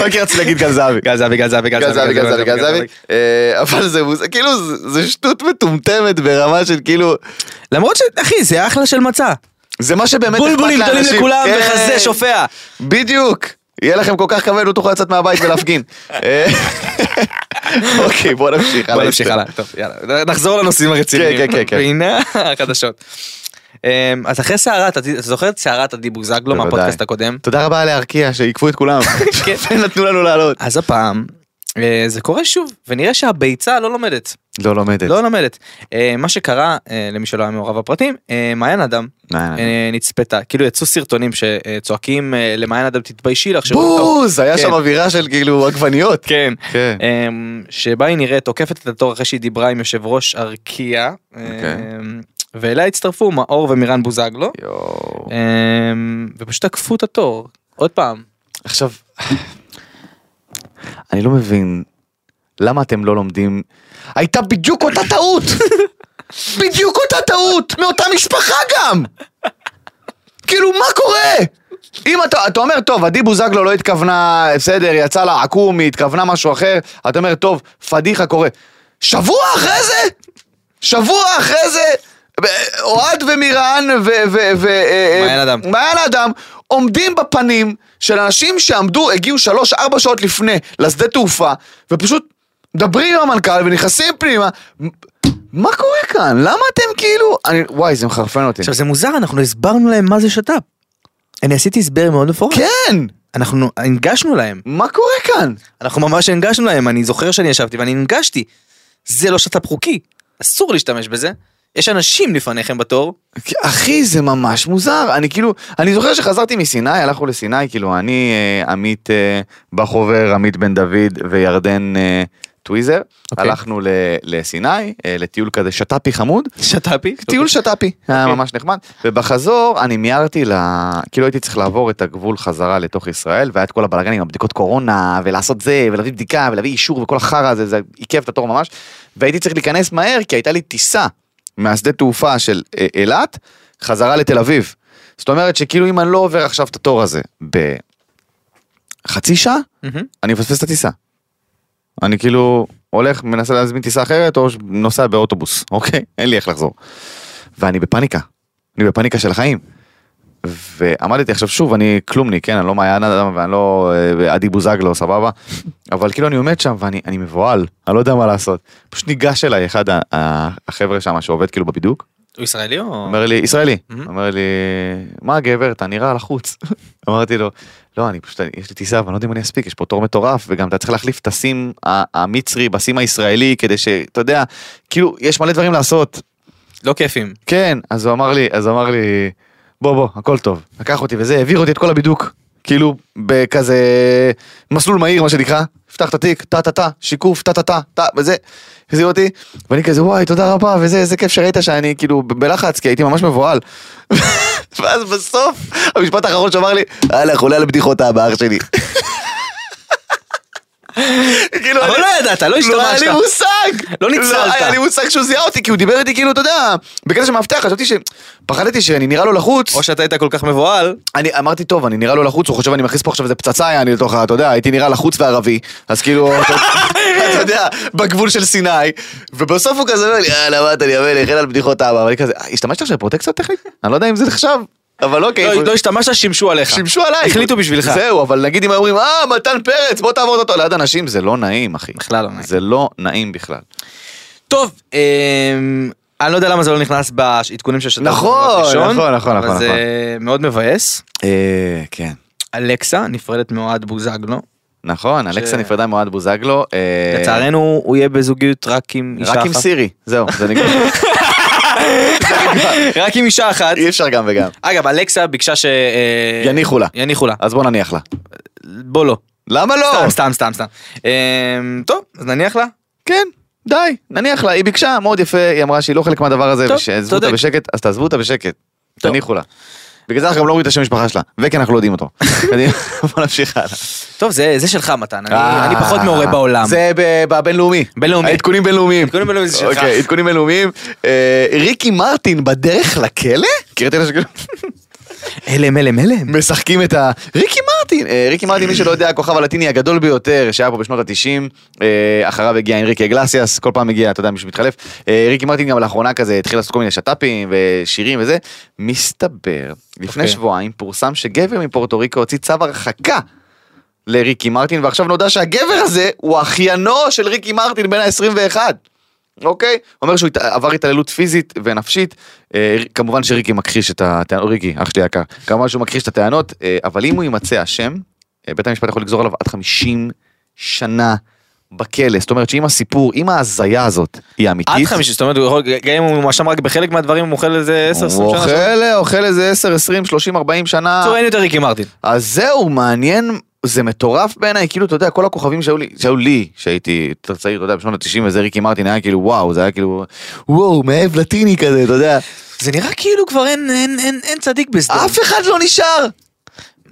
רק רציתי להגיד גל זהבי. גל זהבי, גל זהבי, גל זהבי, גל זהבי, גל זהבי. אה, אבל זה מוז- כאילו, זה- זה שטות מטומטמת ברמה של כאילו, למרות ש... אחי, זה אחלה של מצע. זה מה שבאמת אכפת לאנשים. בולבולים גדולים לכולם כן. וחזה שופע. בדיוק. יהיה לכם כל כך כבד, לא תוכלו לצאת מהבית [laughs] ולהפגין. אה, אוקיי, בוא נמשיך. בוא נמשיך הלאה. טוב, יאללה. נחזור לנושאים הרציניים. כן, כן, כן. והנה החדשות. אמ, אז אחרי סערת, אתה אתה זוכר את סערת עדי בוזגלו בוודאי. מהפודקאסט הקודם? [laughs] תודה רבה לארקיע שעיכבו את כולם, [laughs] כן. ונתנו לנו לעלות. אז הפעם אה, זה קורה שוב, ונראה שהביצה לא לומדת. לא לומדת. לא לומדת. אה, מה שקרה, אה, למי שלא היה מעורב בפרטים, אה, מעיין אדם מעיין אדם. אה, נצפתה, כאילו יצאו סרטונים שצועקים אה, למעיין אדם תתביישי לך. שראו אותה." בוז! היה כן. שם אווירה של כאילו עגבניות. כן. כן. אמ, שבה היא נראית עוקפת את התור אחרי שהיא דיברה עם יושב ראש ארקיע. אוקיי. אמ, ואליה הצטרפו מאור ומירן בוזגלו. יואו. אמ, ופשוט עקפו את התור. עוד פעם. עכשיו, אני לא מבין למה אתם לא לומדים. הייתה בדיוק אותה טעות! [laughs] בדיוק אותה טעות! מאותה משפחה גם! כאילו, מה קורה? אם אתה, אתה אומר, טוב, עדי בוזגלו לא התכוונה, בסדר, יצא לה עקום, היא התכוונה משהו אחר, אתה אומר, טוב, פדיחה קורה. שבוע אחרי זה? שבוע אחרי זה? אה, אוהד ומירן ו... ו... ו... אה, אה, מעיין אדם. מעיין האדם עומדים בפנים של אנשים שעמדו, הגיעו שלוש, ארבע שעות לפני לשדה תעופה, ופשוט מדברים עם המנכ"ל ונכנסים פנימה. מ- מה קורה כאן? למה אתם כאילו... אני, וואי, זה מחרפן אותי. עכשיו זה מוזר, אנחנו הסברנו להם מה זה שת"פ. אני עשיתי הסבר מאוד מפורט. כן! אנחנו הנגשנו להם. מה קורה כאן? אנחנו ממש הנגשנו להם, אני זוכר שאני ישבתי ואני הנגשתי. זה לא שת"פ חוקי. אסור להשתמש בזה. יש אנשים לפניכם בתור. אחי, זה ממש מוזר. אני כאילו, אני זוכר שחזרתי מסיני, הלכנו לסיני, כאילו, אני, אה, עמית אה, בחובר, עמית בן דוד וירדן אה, טוויזר, הלכנו ל- לסיני, אה, לטיול כזה שת"פי חמוד. שת"פי? אוקיי. טיול שת"פי, אוקיי. היה ממש נחמד, ובחזור אני מיהרתי ל... כאילו הייתי צריך לעבור את הגבול חזרה לתוך ישראל, והיה את כל הבלאגן עם הבדיקות קורונה, ולעשות זה, ולהביא בדיקה, ולהביא אישור וכל החרא הזה, זה עיכב את התור ממש, והייתי צריך להיכנס מהר, כי הייתה לי טיסה מהשדה תעופה של אה, אילת, חזרה לתל אביב. זאת אומרת שכאילו אם אני לא עובר עכשיו את התור הזה בחצי שעה, מהמם. אני מפספס את הטיסה. אני כאילו הולך, מנסה להזמין טיסה אחרת, או נוסע באוטובוס, [laughs] אוקיי? אין לי איך לחזור. ואני בפאניקה. אני בפאניקה של החיים. ועמדתי עכשיו שוב, אני כלומניק, כן? אני לא מעיין אדם ואני לא אה, עדי בוזגלו, סבבה? אבל כאילו אני עומד שם ואני אני מבוהל, אני לא יודע מה לעשות. פשוט ניגש אליי אחד ה- ה- החבר'ה שם שעובד כאילו בבידוק, הוא ישראלי או... אומר לי, ישראלי, Mhm. אומר לי, מה גבר, אתה נראה לחוץ. [laughs] אמרתי לו, לא, אני פשוט, יש לי טיסה, אבל אני לא יודע אם אני אספיק, יש פה תור מטורף, וגם אתה צריך להחליף את הסים ה- המצרי בסים הישראלי, כדי שאתה יודע, כאילו, יש מלא דברים לעשות. לא כיפים. כן, אז הוא אמר לי, אז הוא אמר לי, בוא, בוא, הכל טוב. לקח אותי וזה, העביר אותי את כל הבידוק, כאילו, בכזה מסלול מהיר, מה שנקרא, פתח את התיק, טה טה טה, שיקוף, טה טה טה, טה, וזה, החזיר אותי, ואני כזה, וואי, תודה רבה, וזה, איזה כיף שראית שאני כאילו ב- בלחץ, כי הייתי ממש מבוהל. [laughs] ואז בסוף, המשפט האחרון שאמר לי, יאללה, חולה על בדיחות האבא, אח שלי. [laughs] כאילו, אבל אני- לא ידעת, לא לא היה לי השתמשת. מושג! לא ניצלת. לא היה לי מושג שהוא זיהה אותי, כי הוא דיבר איתי כאילו, אתה יודע, בקטע של מאבטח, חשבתי ש... פחדתי שאני נראה לו לחוץ. או שאתה היית כל כך מבוהל. אני אמרתי, טוב, אני נראה לו לחוץ, הוא חושב אני מכניס פה עכשיו איזה פצצה היה אני לתוך ה... אתה יודע, הייתי נראה לחוץ וערבי, אז כאילו, [laughs] אתה אתה יודע, בגבול של סיני, ובסוף הוא כזה אומר לי, יאללה, מה אתה לי המלך, אין על בדיחות אבא, ואני כזה, "אה, השתמשת עכשיו בפרוטקציה טכנית? אני לא יודע אם זה נחשב, אבל אוקיי. לא השתמשת, שימשו עליך. שימשו עליי. החליטו בשבילך. זהו, אבל נגיד אם היו אומרים, אה, מתן פרץ, בוא תעבור אותו ליד אנשים, זה לא נעים, אחי. בכלל לא נעים. זה לא נעים בכלל. טוב, אמ, אני לא יודע למה זה לא נכנס בעדכונים של שת"פ. נכון, במבט ראשון, נכון, נכון, אבל נכון, זה מאוד מבאס. אה, כן. אלכסה נפרדת מאוהד בוזגלו. נכון, אלכסה נפרדה מאוהד בוזגלו. אה, לצערנו הוא יהיה בזוגיות רק עם אישה אחת. רק עם סירי, זהו, זה נגמר. [laughs] [laughs] רק עם אישה אחת. אי אפשר גם וגם. אגב, אלכסה ביקשה ש... אה, יניחו לה. יניחו לה. אז בוא נניח לה. בוא לא. למה לא? סתם, סתם, סתם, סתם. אמ, טוב, אז נניח לה. כן, די, נניח לה. היא ביקשה, מאוד יפה, היא אמרה שהיא לא חלק מהדבר הזה, טוב, ושעזבו אותה צודק. בשקט, אז תעזבו אותה בשקט. טוב. תניחו לה. בגלל זה אנחנו גם לא רואים את השם משפחה שלה, וכן אנחנו לא יודעים [laughs] אותו. קדימה, [laughs] בוא נמשיך הלאה. טוב, זה זה שלך מתן, אני אני פחות מעורה אה, בעולם. זה ב- בבינלאומי. בינלאומי. העדכונים בינלאומיים. עדכונים בינלאומיים זה שלך. אוקיי, עדכונים בינלאומיים. אה, ריקי מרטין בדרך [laughs] לכלא? כי ראיתי שכאילו הלם, הלם, הלם. משחקים את ה... ריקי מרטין! אה, ריקי מרטין, מי שלא יודע, הכוכב הלטיני הגדול ביותר שהיה פה בשנות ה-90, אחריו הגיע אנריקי אגלסיאס, כל פעם הגיע, אתה יודע, מישהו מתחלף. אה, ריקי מרטין גם לאחרונה כזה התחיל לעשות כל מיני שת"פים ושירים וזה. מסתבר, לפני אוקיי. שבועיים פורסם שגבר מפורטו ריקו הוציא צו הרחקה לריקי מרטין, ועכשיו נודע שהגבר הזה הוא אחיינו של ריקי מרטין בן ה-21. אוקיי? אומר שהוא הת- עבר התעללות פיזית ונפשית. אה, ר- כמובן שריקי מכחיש את הטענות, ריקי, אח שלי היקר, כמובן שהוא מכחיש את הטענות, אה, אבל אם הוא יימצא אשם, אה, בית המשפט יכול לגזור עליו עד 50 שנה בכלא. זאת אומרת שאם הסיפור, אם ההזיה הזאת היא אמיתית... עד חמישים, זאת אומרת, הוא יכול- גם אם הוא מואשם רק בחלק מהדברים, הוא אוכל איזה 10-20 שנה. הוא אוכל, אוכל איזה 10, 20, 30, 40 שנה. בקיצור, אין יותר ריקי מרטין. אז זהו, מעניין, זה מטורף בעיניי, כאילו, אתה יודע, כל הכוכבים שהיו לי, שהיו לי, שהייתי יותר צעיר, אתה יודע, בשנות ה-90, וזה ריקי מרטין היה כאילו, וואו, זה היה כאילו, וואו, מאב לטיני כזה, אתה יודע. זה נראה כאילו כבר אין- אין- אין אין צדיק בסדום. אף אחד לא נשאר!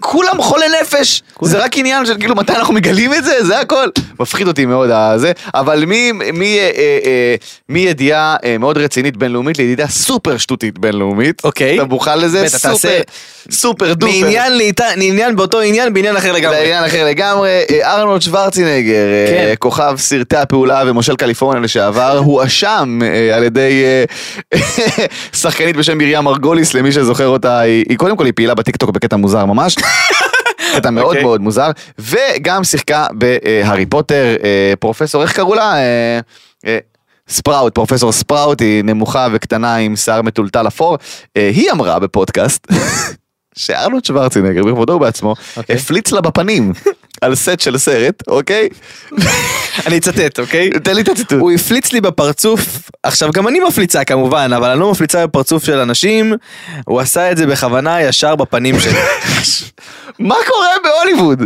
כולם חולי נפש! זה רק עניין של כאילו מתי אנחנו מגלים את זה, זה הכל. מפחיד אותי מאוד הזה, אבל מי- מי, אה, אה, אה, מידיעה אה, מאוד רצינית בינלאומית לידיעה סופר שטותית בינלאומית. אוקיי. אתה מוכן לזה? בטח, סופר- תעשה- סופר דופר. מעניין לאיתה- לעניין באותו עניין, לא בעניין אחר לגמרי. לעניין אחר לגמרי, אה, ארנולד שוורצינגר, אה, כן. כוכב סרטי הפעולה ומושל קליפורניה לשעבר, הואשם אה, על ידי אה, [laughs] שחקנית בשם מרים מרגוליס, למי שזוכר אותה, היא היא קודם כל היא פעילה בטיקטוק בקטע מוזר ממש. קטע מאוד אוקיי. מאוד מוזר, וגם שיחקה בהארי פוטר, אה, פרופסור, איך קראו לה? אה, אה, ספראוט, פרופסור ספראוט, היא נמוכה וקטנה עם שיער מטולטל אפור. אה, היא אמרה בפודקאסט, [laughs] שארנולד שוורצינגר בכבודו ובעצמו, אוקיי. הפליץ לה בפנים [laughs] על סט של סרט, אוקיי? אני אצטט, אוקיי? תן לי את הציטוט. הוא הפליץ לי בפרצוף, עכשיו גם אני מפליצה כמובן, אבל אני לא מפליצה בפרצוף של אנשים, הוא עשה את זה בכוונה ישר בפנים שלי. מה קורה בהוליווד?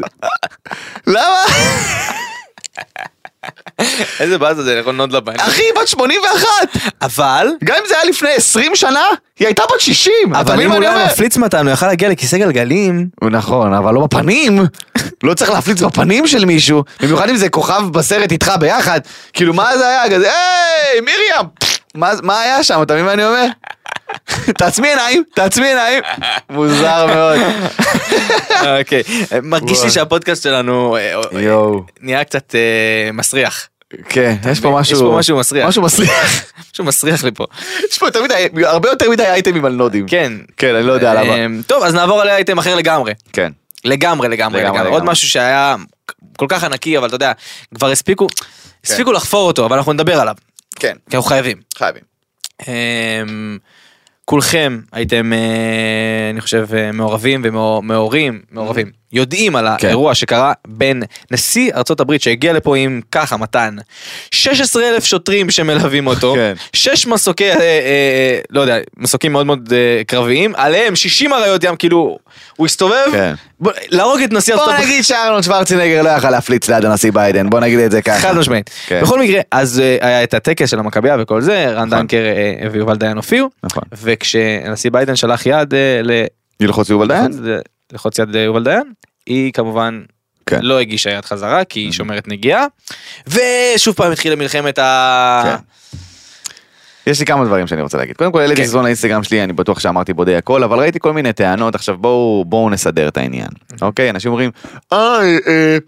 [laughs] למה? [laughs] [laughs] איזה באזה זה, נכון נוד לבן. אחי, היא בת 81! אבל, גם אם זה היה לפני 20 שנה, היא הייתה בת 60! אתה אבל מבין אם מה הוא אני לא היה אומר? מפליץ מתן, הוא יכל להגיע לכיסא גלגלים. נכון, אבל לא בפנים. לא צריך להפליץ בפנים של מישהו, במיוחד אם זה כוכב בסרט איתך ביחד. כאילו, מה זה היה? כזה, היי, מרים! מה- מה היה שם? אתה מבין מה אני אומר? תעצמי עיניים, תעצמי עיניים. מוזר מאוד. [laughs] אוקיי, מרגיש לי וואי. שהפודקאסט שלנו אה, אה, יואו. נהיה קצת אה, מסריח. [laughs] כן, יש פה משהו... יש פה משהו מסריח. משהו מסריח. משהו מסריח לי פה. יש פה תמיד, הרבה יותר מדי אייטמים על נודים. כן. כן, אני לא יודע למה. אה, טוב, אז נעבור על אייטם אחר לגמרי. כן. לגמרי לגמרי לגמרי, לגמרי עוד לגמרי. משהו שהיה כל כך ענקי אבל אתה יודע כבר הספיקו הספיקו לחפור אותו אבל אנחנו נדבר עליו כן, כי אנחנו חייבים. חייבים. אמ, כולכם הייתם אה, אני חושב אה, מעורבים ומעורים מעורבים יודעים על כן. האירוע שקרה בין נשיא ארצות הברית שהגיע לפה עם ככה מתן 16 אלף שוטרים שמלווים אותו כן. שש מסוקי אה, אה, לא יודע מסוקים מאוד מאוד אה, קרביים עליהם 60 אריות ים כאילו הוא הסתובב כן. בוא, להרוג את נשיא ארצות בוא הברית. נגיד שארנון שוורצינגר לא יכל להפליץ ליד הנשיא ביידן, בוא נגיד את זה ככה. חד משמעית. כן. בכל מקרה, אז אה, היה את הטקס של המכבייה וכל זה, רן דנקר אה, ויובל דיין הופיעו, נכון. וכשהנשיא ביידן שלח יד אה, ל- ילחוץ יובל דיין? לחוץ יד ליובל דיין, היא כמובן כן. Mm-hmm. לא הגישה יד חזרה, כי היא שומרת נגיעה, ושוב פעם התחילה מלחמת ה... כן. יש לי כמה דברים שאני רוצה להגיד. קודם כל, העליתי כן. סזון לאינסטגרם שלי, אני בטוח שאמרתי בודי הכל, אבל ראיתי כל מיני טענות, עכשיו בואו בואו נסדר את העניין. אוקיי, אנשים אומרים, אה, אה,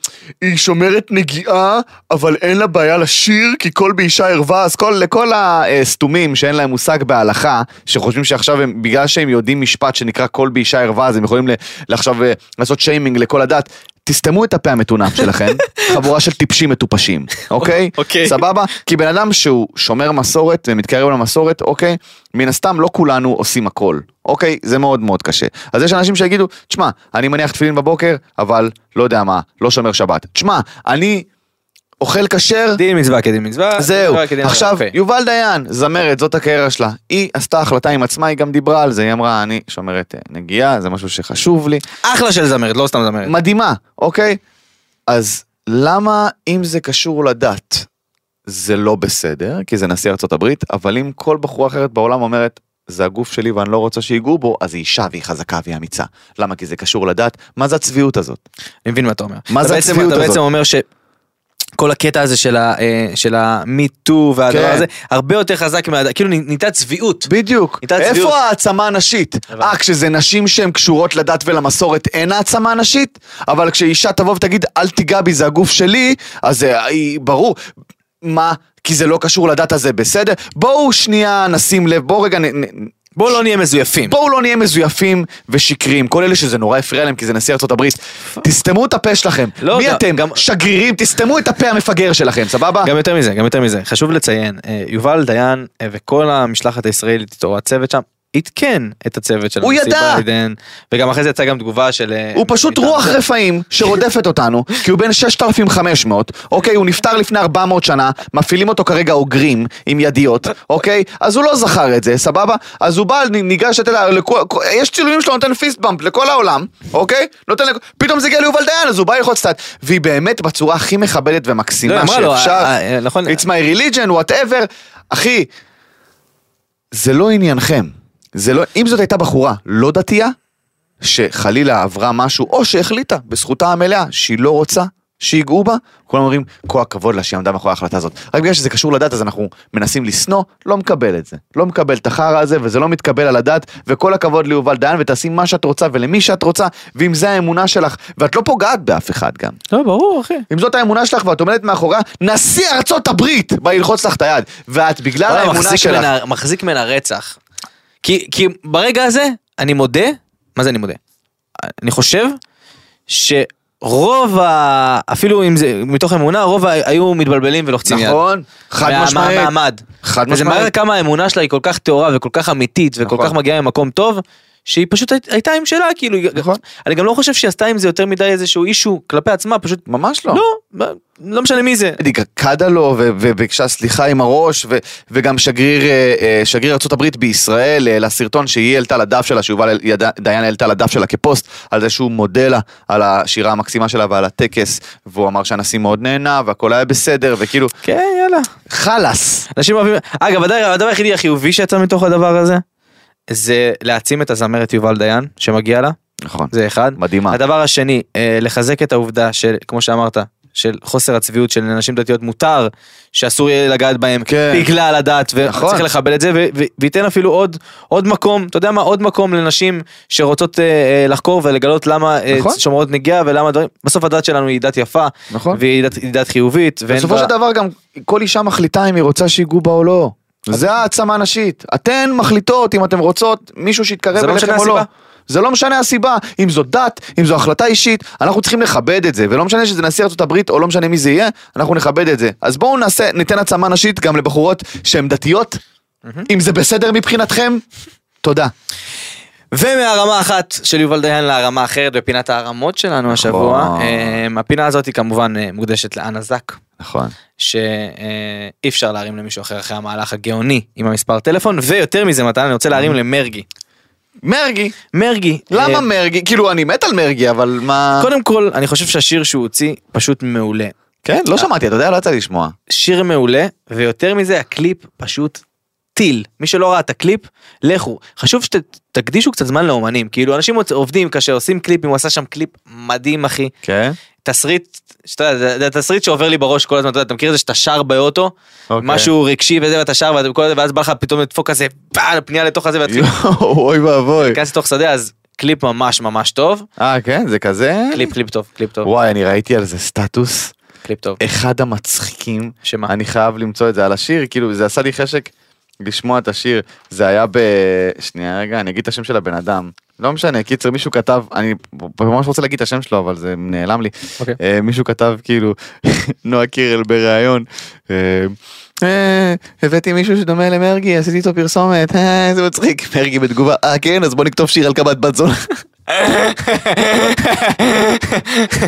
היא שומרת נגיעה, אבל אין לה בעיה לשיר, כי כל באישה ערווה, אז כל, לכל הסתומים שאין להם מושג בהלכה, שחושבים שעכשיו הם, בגלל שהם יודעים משפט שנקרא כל באישה ערווה, אז הם יכולים ל- לעכשיו אה, לעשות שיימינג לכל הדת. תסתמו את הפה המטונף שלכם, חבורה של טיפשים מטופשים, אוקיי? אוקיי. סבבה? כי בן אדם שהוא שומר מסורת ומתקרב למסורת, אוקיי? מן הסתם לא כולנו עושים הכל, אוקיי? זה מאוד מאוד קשה. אז יש אנשים שיגידו, תשמע, אני מניח תפילין בבוקר, אבל לא יודע מה, לא שומר שבת. תשמע, אני אוכל כשר, דין מצווה כדין מצווה. זהו. מצווה כדין מצווה, עכשיו, אוקיי. יובל דיין, זמרת, זאת הקריירה שלה. היא עשתה החלטה עם עצמה, היא גם דיברה על זה, היא אמרה, אני שומרת אה, נגיעה, זה משהו שחשוב לי. אחלה של זמרת, לא סתם זמרת. מדהימה, אוקיי? אז למה אם זה קשור לדת, זה לא בסדר, כי זה נשיא ארצות הברית, אבל אם כל בחורה אחרת בעולם אומרת, זה הגוף שלי ואני לא רוצה שיגעו בו, אז היא אישה והיא חזקה והיא אמיצה. למה? כי זה קשור לדת. מה זה הצביעות הזאת? אני מבין מה אתה אומר. מה אתה זה בעצם- הצביעות אתה הזאת? בעצם אומר ש... כל הקטע הזה של ה- אה, של ה-MeToo והדבר כן. הזה, הרבה יותר חזק מה... כאילו נהייתה צביעות. בדיוק. הייתה צביעות. איפה העצמה הנשית? אה, כשזה נשים שהן קשורות לדת ולמסורת אין העצמה נשית? אבל כשאישה תבוא ותגיד, אל תיגע בי, זה הגוף שלי, אז אה, היא- ברור. מה? כי זה לא קשור לדת הזה, בסדר? בואו שנייה נשים לב, בואו רגע נ- נ- בואו לא נהיה מזויפים. בואו לא נהיה מזויפים ושקריים, כל אלה שזה נורא הפריע להם כי זה נשיא ארצות הברית. תסתמו את הפה שלכם. לא, מי גם- אתם? גם- שגרירים, תסתמו את הפה המפגר שלכם, סבבה? גם יותר מזה, גם יותר מזה. חשוב לציין, אה, יובל דיין אה, וכל המשלחת הישראלית, או הצוות שם, עדכן את הצוות של הוא הנשיא ידע! ביידן, וגם אחרי זה יצאה גם תגובה של... אה, הוא פשוט מטעם- רוח רפאים שרודפת אותנו, כי הוא בן 6,500, אוקיי? הוא נפטר לפני 400 שנה, מפעילים אותו כרגע אוגרים עם ידיות, אוקיי? אז הוא לא זכר את זה, סבבה? אז הוא בא, נ- ניגש, אתה יודע, לכו- כו- יש צילומים שלו, נותן פיסט במפ לכל העולם, אוקיי? נותן, לכ- פתאום זה הגיע ליובל דיין, אז הוא בא ללחוץ קצת. והיא באמת בצורה הכי מכבדת לא, ומקסימה אמרה לו, שאפשר. אה, אה, נכון. It's my religion, whatever. אחי, זה לא עניינכם. זה לא, אם זאת הייתה בחורה לא דתייה, שחלילה עברה משהו, או שהחליטה בזכותה המלאה שהיא לא רוצה שיגעו בה, כולם אומרים, כל הכבוד לה שהיא עמדה מאחורי ההחלטה הזאת. רק בגלל שזה קשור לדת אז אנחנו מנסים לשנוא, לא מקבל את זה. לא מקבל את החרא הזה, וזה לא מתקבל על הדת, וכל הכבוד ליובל דיין, ותעשי מה שאת רוצה ולמי שאת רוצה, ואם זה האמונה שלך, ואת לא פוגעת באף אחד גם. לא, ברור, אחי. אם זאת האמונה שלך ואת עומדת מאחוריה, נשיא ארצות הברית בא ללחוץ לך את היד. ואת בגלל וואלה, האמונה אה, מחזיק שלך... ממנה- מחזיק ממנה רצח. כי כי ברגע הזה, אני מודה, מה זה אני מודה? אני חושב שרוב ה... אפילו אם זה מתוך אמונה, רוב ה... היו מתבלבלים ולוחצים יד. נכון, חד מה- משמעית. מהמעמד. חד וזה מראה משמעית. כמה האמונה שלה היא כל כך טהורה וכל כך אמיתית וכל נכון. כך מגיעה ממקום טוב, שהיא פשוט היית- הייתה עם שלה, כאילו, היא- נכון. אני גם לא חושב שהיא עשתה עם זה יותר מדי איזשהו אישו כלפי עצמה, פשוט, ממש לא. לא, לא משנה מי זה. היא קדה לו ו- וביקשה סליחה עם הראש, ו- וגם שגריר, אה, אה, שגריר ארה"ב בישראל, אה, לסרטון שהיא העלתה לדף שלה, שיובל יד- דיין העלתה לדף שלה כפוסט, על זה שהוא מודה לה על השירה המקסימה שלה ועל הטקס, והוא אמר שהנשיא מאוד נהנה והכל היה בסדר, וכאילו, כן, יאללה. חלאס. אנשים אוהבים, אגב הדבר, הדבר היחידי החיובי שיצא מתוך הדבר הזה, זה להעצים את הזמרת יובל דיין שמגיע לה, נכון, זה אחד. מדהימה. הדבר השני, אה, לחזק את העובדה של, כמו שאמרת, של חוסר הצביעות של נשים דתיות מותר, שאסור יהיה לגעת בהם, כן. בגלל הדת, נכון. וצריך לכבד את זה, ו- ו- וייתן אפילו עוד, עוד מקום, אתה יודע מה, עוד מקום לנשים שרוצות אה, אה, לחקור ולגלות למה אה, נכון. שומרות נגיעה ולמה דברים, בסוף הדת שלנו היא דת יפה, נכון. והיא דת, היא דת חיובית, ואין בסופו בה- של דבר גם כל אישה מחליטה אם היא רוצה שיגעו בה או לא. זה העצמה נשית. אתן מחליטות אם אתן רוצות מישהו שיתקרב זה לא אליכם משנה או לא. הסיבה. זה לא משנה הסיבה, אם זו דת, אם זו החלטה אישית, אנחנו צריכים לכבד את זה, ולא משנה שזה נשיא ארצות הברית או לא משנה מי זה יהיה, אנחנו נכבד את זה. אז בואו נעשה, ניתן עצמה נשית גם לבחורות שהן דתיות, אם זה בסדר מבחינתכם, תודה. ומהרמה אחת של יובל דיין להרמה אחרת בפינת הערמות נכון. שלנו השבוע. אה, הפינה הזאת היא כמובן אה, מוקדשת לאנה זק, נכון. שאי אפשר להרים למישהו אחר אחרי המהלך הגאוני עם המספר טלפון, ויותר מזה מתן, אני רוצה להרים למרגי. מרגי, מרגי. למה אה, מרגי? כאילו אני מת על מרגי, אבל מה... קודם כל, אני חושב שהשיר שהוא הוציא פשוט מעולה. כן, לא שמעתי, אתה יודע, לא יצא לי לשמוע. שיר מעולה, ויותר מזה, הקליפ פשוט טיל. מי שלא ראה את הקליפ, לכו. חשוב שתקדישו קצת זמן לאומנים. כאילו, אנשים עובדים קשה, עושים קליפים, הוא עשה שם קליפ מדהים, אחי. כן? תסריט, שאתה יודע, זה- זה תסריט שעובר לי בראש כל הזמן, אתה יודע, אתה מכיר את זה שאתה שר באוטו, אוקיי. משהו רגשי וזה ואתה שר ואתה- כל זה, ואז בא לך פתאום לדפוק כזה, פעם, פנייה לתוך הזה ואתה יואו, אוי ואבוי. תיכנס לתוך שדה, אז קליפ ממש ממש [laughs] טוב, אה, כן? זה כזה? קליפ קליפ טוב, קליפ טוב, וואי, אני ראיתי על זה סטטוס. קליפ טוב. אחד המצחיקים. שמה? אני חייב למצוא את זה על השיר, כאילו, זה עשה לי חשק לשמוע את השיר. זה היה ב... שנייה רגע, אני אגיד את השם של הבן אדם. לא משנה, קיצר, מישהו כתב, אני ממש רוצה להגיד את השם שלו, אבל זה נעלם לי. אוקיי. אה, מישהו כתב, כאילו, [laughs] נועה קירל בריאיון. אה, אה, הבאתי מישהו שדומה למרגי, עשיתי איתו פרסומת, אה, איזה מצחיק. מרגי בתגובה, אה, כן, אז בוא נכתוב שיר על כמה את בת זונה.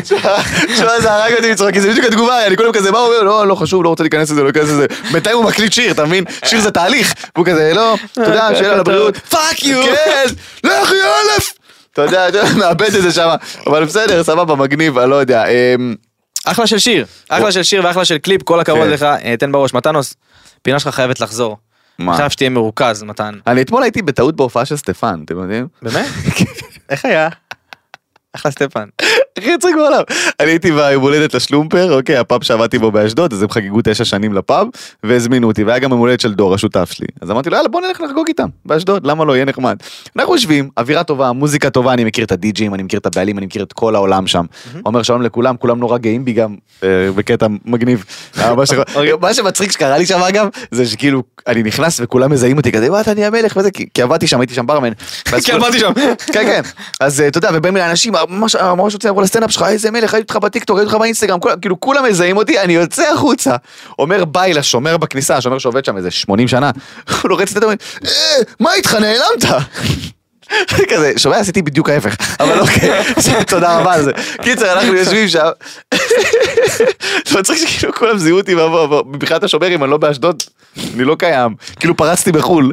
תשמע, זה הרג אותי לצחוק, כי זה בדיוק התגובה, אני כולם כזה, מה הוא אומר? לא, לא חשוב, לא רוצה להיכנס לזה, לא להיכנס לזה. בינתיים הוא מקליט שיר, אתה מבין? שיר זה תהליך. והוא כזה, לא, אתה יודע, שאלה לבריאות. פאק יו! כן! לך יא אלף! אתה יודע, אתה יודע, מאבד את זה שם. אבל בסדר, סבבה, מגניב, אני לא יודע. אמ, אחלה של שיר, אחלה של שיר ואחלה של קליפ, כל הכבוד כן. לך, אה, תן בראש. מתנוס, פינה שלך חייבת לחזור. מה? חייב שתהיה מרוכז, מתן. אני אתמול הייתי בטעות בהופעה של סטפן, אתם יודעים? [laughs] באמת? איך היה? אחלה סטפן. הכי יצחק בעולם. אני הייתי ביום הולדת לשלומפר, אוקיי, הפאב שעבדתי בו באשדוד, אז הם חגגו תשע שנים לפאב, והזמינו אותי, והיה גם יום הולדת של דור, השותף שלי. אז אמרתי לו, יאללה, בוא נלך לחגוג איתם, באשדוד, למה לא, יהיה נחמד. אנחנו יושבים, אווירה טובה, מוזיקה טובה, אני מכיר את הדי-ג'ים, אני מכיר את הבעלים, אני מכיר את כל העולם שם. אומר שלום לכולם, כולם נורא גאים בי גם, אה, בקטע מגניב. אה, [laughs] מה ש- אוקיי. מה שמצחיק שקרה לי שם אגב, זה שכאילו, אני נכנס וכולם מזהים אותי כזה, מה אתה נהיה מלך וזה, כי כי עבדתי שם, הייתי שם ברמן. ואז [laughs] כי כולם- עבדתי שם. כן, כן. אז אה, אתה יודע, ובין מיני אנשים, אה, ממש ממש רוצים לבוא בסטנדאפ שלך, איזה מלך, ראיתי אותך בטיקטוק, ראיתי אותך באינסטגרם, כולם- כאילו כולם מזהים אותי, אני יוצא החוצה. אומר ביי לשומר בכניסה, השומר שעובד שם איזה 80 שנה, [laughs] הוא לוחץ את הדברים, "אה, מה איתך, נעלמת? [laughs] כזה, שומע, עשיתי בדיוק ההפך, אבל אוקיי, [laughs] תודה רבה על זה. קיצר, אנחנו יושבים שם. [laughs] זה מצחיק שכאילו כולם זיהו אותי, מה- מה- מה- מבחינת השומרים, אני לא באשדוד, אני לא קיים, כאילו פרצתי בחו"ל.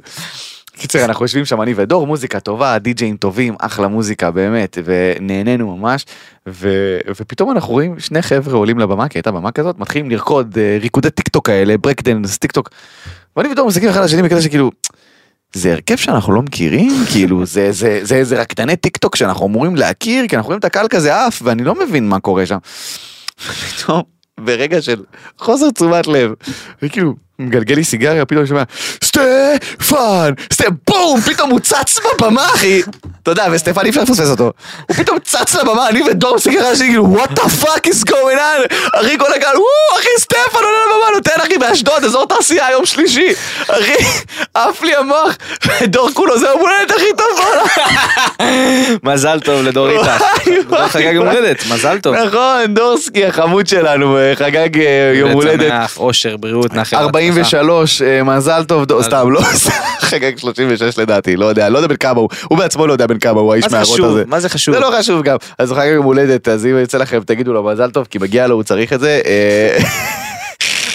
קיצר, אנחנו יושבים שם, אני ודור, מוזיקה טובה, די-ג'אים טובים, אחלה מוזיקה, באמת, ונהנינו ממש, ו... ופתאום אנחנו רואים שני חבר'ה עולים לבמה, כי הייתה במה כזאת, מתחילים לרקוד אה, ריקודי טיקטוק האלה, ברקדנס, טיקטוק, ואני ודור מסתכלים אחד על השני בקטע שכאילו, זה הרכב שאנחנו לא מכירים, [laughs] כאילו, זה, זה, זה איזה רקדני טיקטוק שאנחנו אמורים להכיר, כי אנחנו רואים את הקהל כזה עף, ואני לא מבין מה קורה שם. פתאום, ברגע של חוסר תשומת לב, וכאילו, מגלגל לי סיגריה, פתאום אני שומע, סטפן, סטפ... בום, פתאום הוא צץ בבמה, אחי. אתה יודע, וסטפן אי אפשר לפספס אותו. הוא פתאום צץ לבמה, אני ודור מסתכל על השני, כאילו, what the fuck is going on? אחי, כל הקהל, וואו, אחי, סטפן עולה לבמה, נותן, אחי, באשדוד, אזור תעשייה, יום שלישי. אחי, עף לי המוח, ודור כולו, זה יום הולדת הכי טוב בעולם. מזל טוב לדור איתך. וואי, דור חגג יום הולדת, מזל טוב. נכון, דורסקי החמוד שלנו, אה, חגג אה, יום הולדת. וצמח, אושר, בריאות, נחל. 43, אה, מזל טוב, דו- סתם, לא, [laughs] חגג 36 לדעתי, לא יודע, לא יודע בן כמה הוא, הוא בעצמו לא יודע בן כמה הוא, האיש מה זה מהרוט חשוב? הזה. מה זה חשוב? זה [laughs] לא חשוב גם, אז הוא חגג יום הולדת, אז אם יוצא לכם תגידו לו מזל טוב, כי מגיע לו, הוא צריך את זה. אה, [laughs]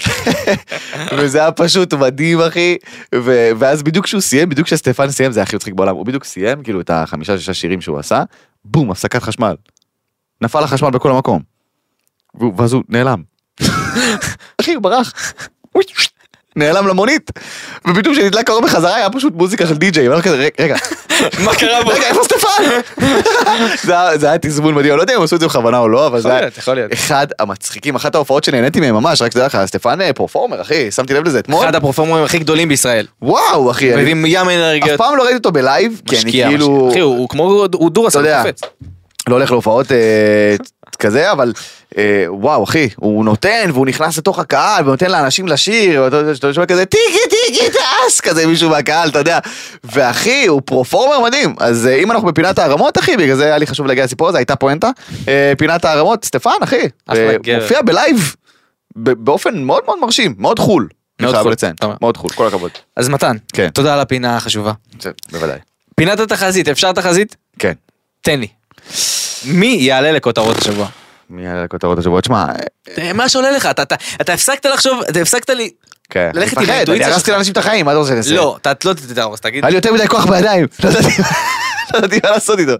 וזה היה פשוט מדהים אחי, ו- ואז בדיוק כשהוא סיים, בדיוק כשסטפן סיים, זה הכי מצחיק בעולם, הוא בדיוק סיים כאילו את החמישה שישה שירים שהוא עשה, בום, הפסקת חשמל. נפל החשמל בכל המקום. והוא- ואז הוא נעלם. [laughs] אחי, הוא ברח. [laughs] נעלם למונית. ובדיוק כשנדלק האור בחזרה היה פשוט מוזיקה של די-ג'יי, ואנחנו כזה, "רגע, רגע, מה קרה בו? רגע, איפה סטפן? זה היה- זה היה תזמון מדהים, אני לא יודע אם עשו את זה בכוונה או לא, אבל זה יכול היה להיות, יכול להיות. אחד המצחיקים, אחת ההופעות שנהניתי מהן ממש, רק שתדע לך, סטפן אה, פרפורמר, אחי, שמתי לב לזה אתמול. אחד הפרופורמרים הכי גדולים בישראל. וואו, אחי, אני מביאים ים כן. אף אנרגיות. פעם לא ראיתי אותו בלייב, כי אני משקיע, כאילו... משקיע. אחי, הוא הוא כמו, הוא דורס, אתה הוא יודע. קופץ. לא הולך להופעות אה, כזה, אבל אה, וואו, אחי, הוא נותן והוא נכנס לתוך הקהל ונותן לאנשים לשיר, ואתה יודע, שאתה שומע כזה טיקי טיקי טס, כזה מישהו מהקהל, אתה יודע. ואחי, הוא פרופורמר מדהים. אז אה, אם אנחנו בפינת הערמות, אחי, בגלל זה היה לי חשוב להגיע לסיפור הזה, הייתה פואנטה. אה, פינת הערמות, סטפן, אחי. אחלה אה, גבר. מופיע בלייב ב- באופן מאוד מאוד מרשים, מאוד חול. אני מאוד חייב חול, לציין, אתה אומר. מאוד חול, כל הכבוד. אז מתן, כן. תודה על הפינה החשובה. זה- בוודאי. פינת התחזית, אפשר תחזית? כן. תן לי. מי יעלה לכותרות השבוע? מי היה לכותרות השבוע? תשמע, אה, אה, מה שעולה לך, אתה- אתה- אתה הפסקת לחשוב, אתה הפסקת לי... כן. ללכת עם אני מפחד, האינטואיציה אני הרסתי שלך. לאנשים את החיים, מה אתה רוצה לעשות? לא, אתה לא תתארס, תגיד. היה לי יותר מדי כוח בידיים, לא ידעתי- לא ידעתי מה לעשות איתו.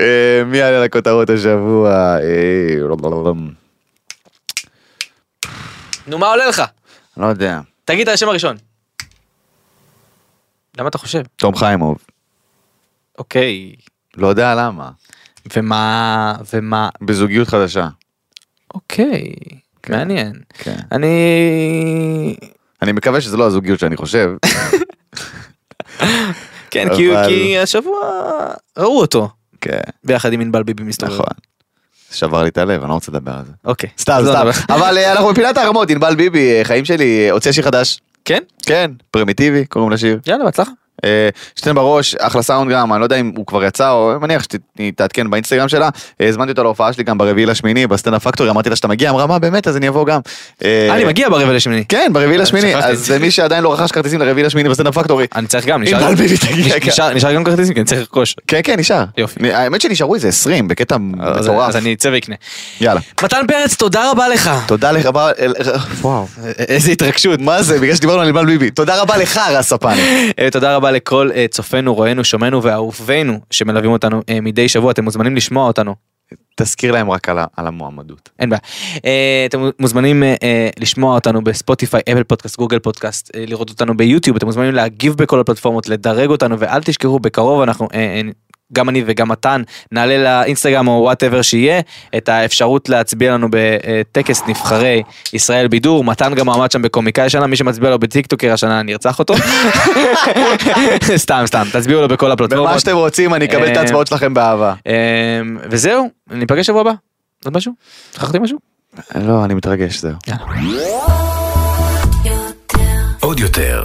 אה, מי יעלה לכותרות השבוע? אה, לא, לא, לא, לא. נו, מה עולה לך? לא יודע. תגיד את השם הראשון. למה אתה חושב? תום חיימוב. אוקיי. לא יודע למה. ומה... ומה... בזוגיות חדשה. אוקיי. מעניין. כן. אני... אני מקווה שזה לא הזוגיות שאני [laughs] חושב. כן, אבל- כי, כי השבוע ראו אותו כן, ביחד עם ענבל ביבי מסתובב. נכון. שבר לי את הלב, אני לא רוצה לדבר על זה. אוקיי. סתם, אז לא נדבר. סתם. [laughs] אבל אה, אנחנו בפינת הערמות, ענבל ביבי, אה, חיים שלי, אה, הוציאה שיר חדש. כן? כן, פרימיטיבי, קוראים לשיר. יאללה, בהצלחה. אה, שתיהן בראש, אחלה סאונד גם, אני לא יודע אם הוא כבר יצא, או אני מניח שתעדכן באינסטגרם שלה. אה, הזמנתי אותה להופעה שלי גם ברביעי לשמיני, בסטנדאפ פקטורי, אמרתי לה שאתה מגיע, אמרה מה באמת, אז אני אבוא גם. אה, אה, אני מגיע ברבע לשמיני. כן, ברביעי לשמיני, שכחתי. אז אה, מי שעדיין לא רכש כרטיסים לרביעי לשמיני בסטנדאפ פקטורי. אני צריך גם, נשאר ענבל ביבי תגיע נש- כאן. נשאר- נשאר גם כרטיסים, כי אני צריך לרכוש. כן, כן, נשאר. יופי. אני- האמת שנשארו איזה 20, בקטע אז- אה, מטורף. אז אני אצא ואקנה. יאללה. מתן פרץ, תודה רבה לך. תודה לך, בר- אל- וואו, איזה התרגשות, מה זה, בגלל שדיברנו על ענבל ביבי. תודה רבה לך, רס ספן. אה, תודה רבה לכל אה, צופינו, רואינו, שומענו ואהובינו שמלווים אותנו אה, מדי שבוע. אתם מוזמנים לשמוע אותנו. תזכיר להם רק על ה- על המועמדות. אין בעיה. אה, אתם מוזמנים אה, אה, לשמוע אותנו בספוטיפיי, אפל פודקאסט, גוגל פודקאסט, אה, לראות אותנו ביוטיוב, אתם מוזמנים להגיב בכל הפלטפורמות, לדרג אותנו, ואל תשכחו, בקרוב אנחנו, אה, אה, גם אני וגם מתן, נעלה לאינסטגרם או וואטאבר שיהיה, את האפשרות להצביע לנו בטקס נבחרי ישראל בידור, מתן גם עמד שם בקומיקאי השנה, מי שמצביע לו בטיקטוקר השנה, אני ארצח אותו. [laughs] סתם, סתם, תצביעו לו בכל במה הפלטפורמות. שאתם רוצים, אני אקבל את לא, אה, ההצבעות שלכם באהבה. אה, וזהו, ניפגש שבוע הבא. עוד משהו? שכחתי משהו? לא, אני מתרגש, זהו. עוד יותר,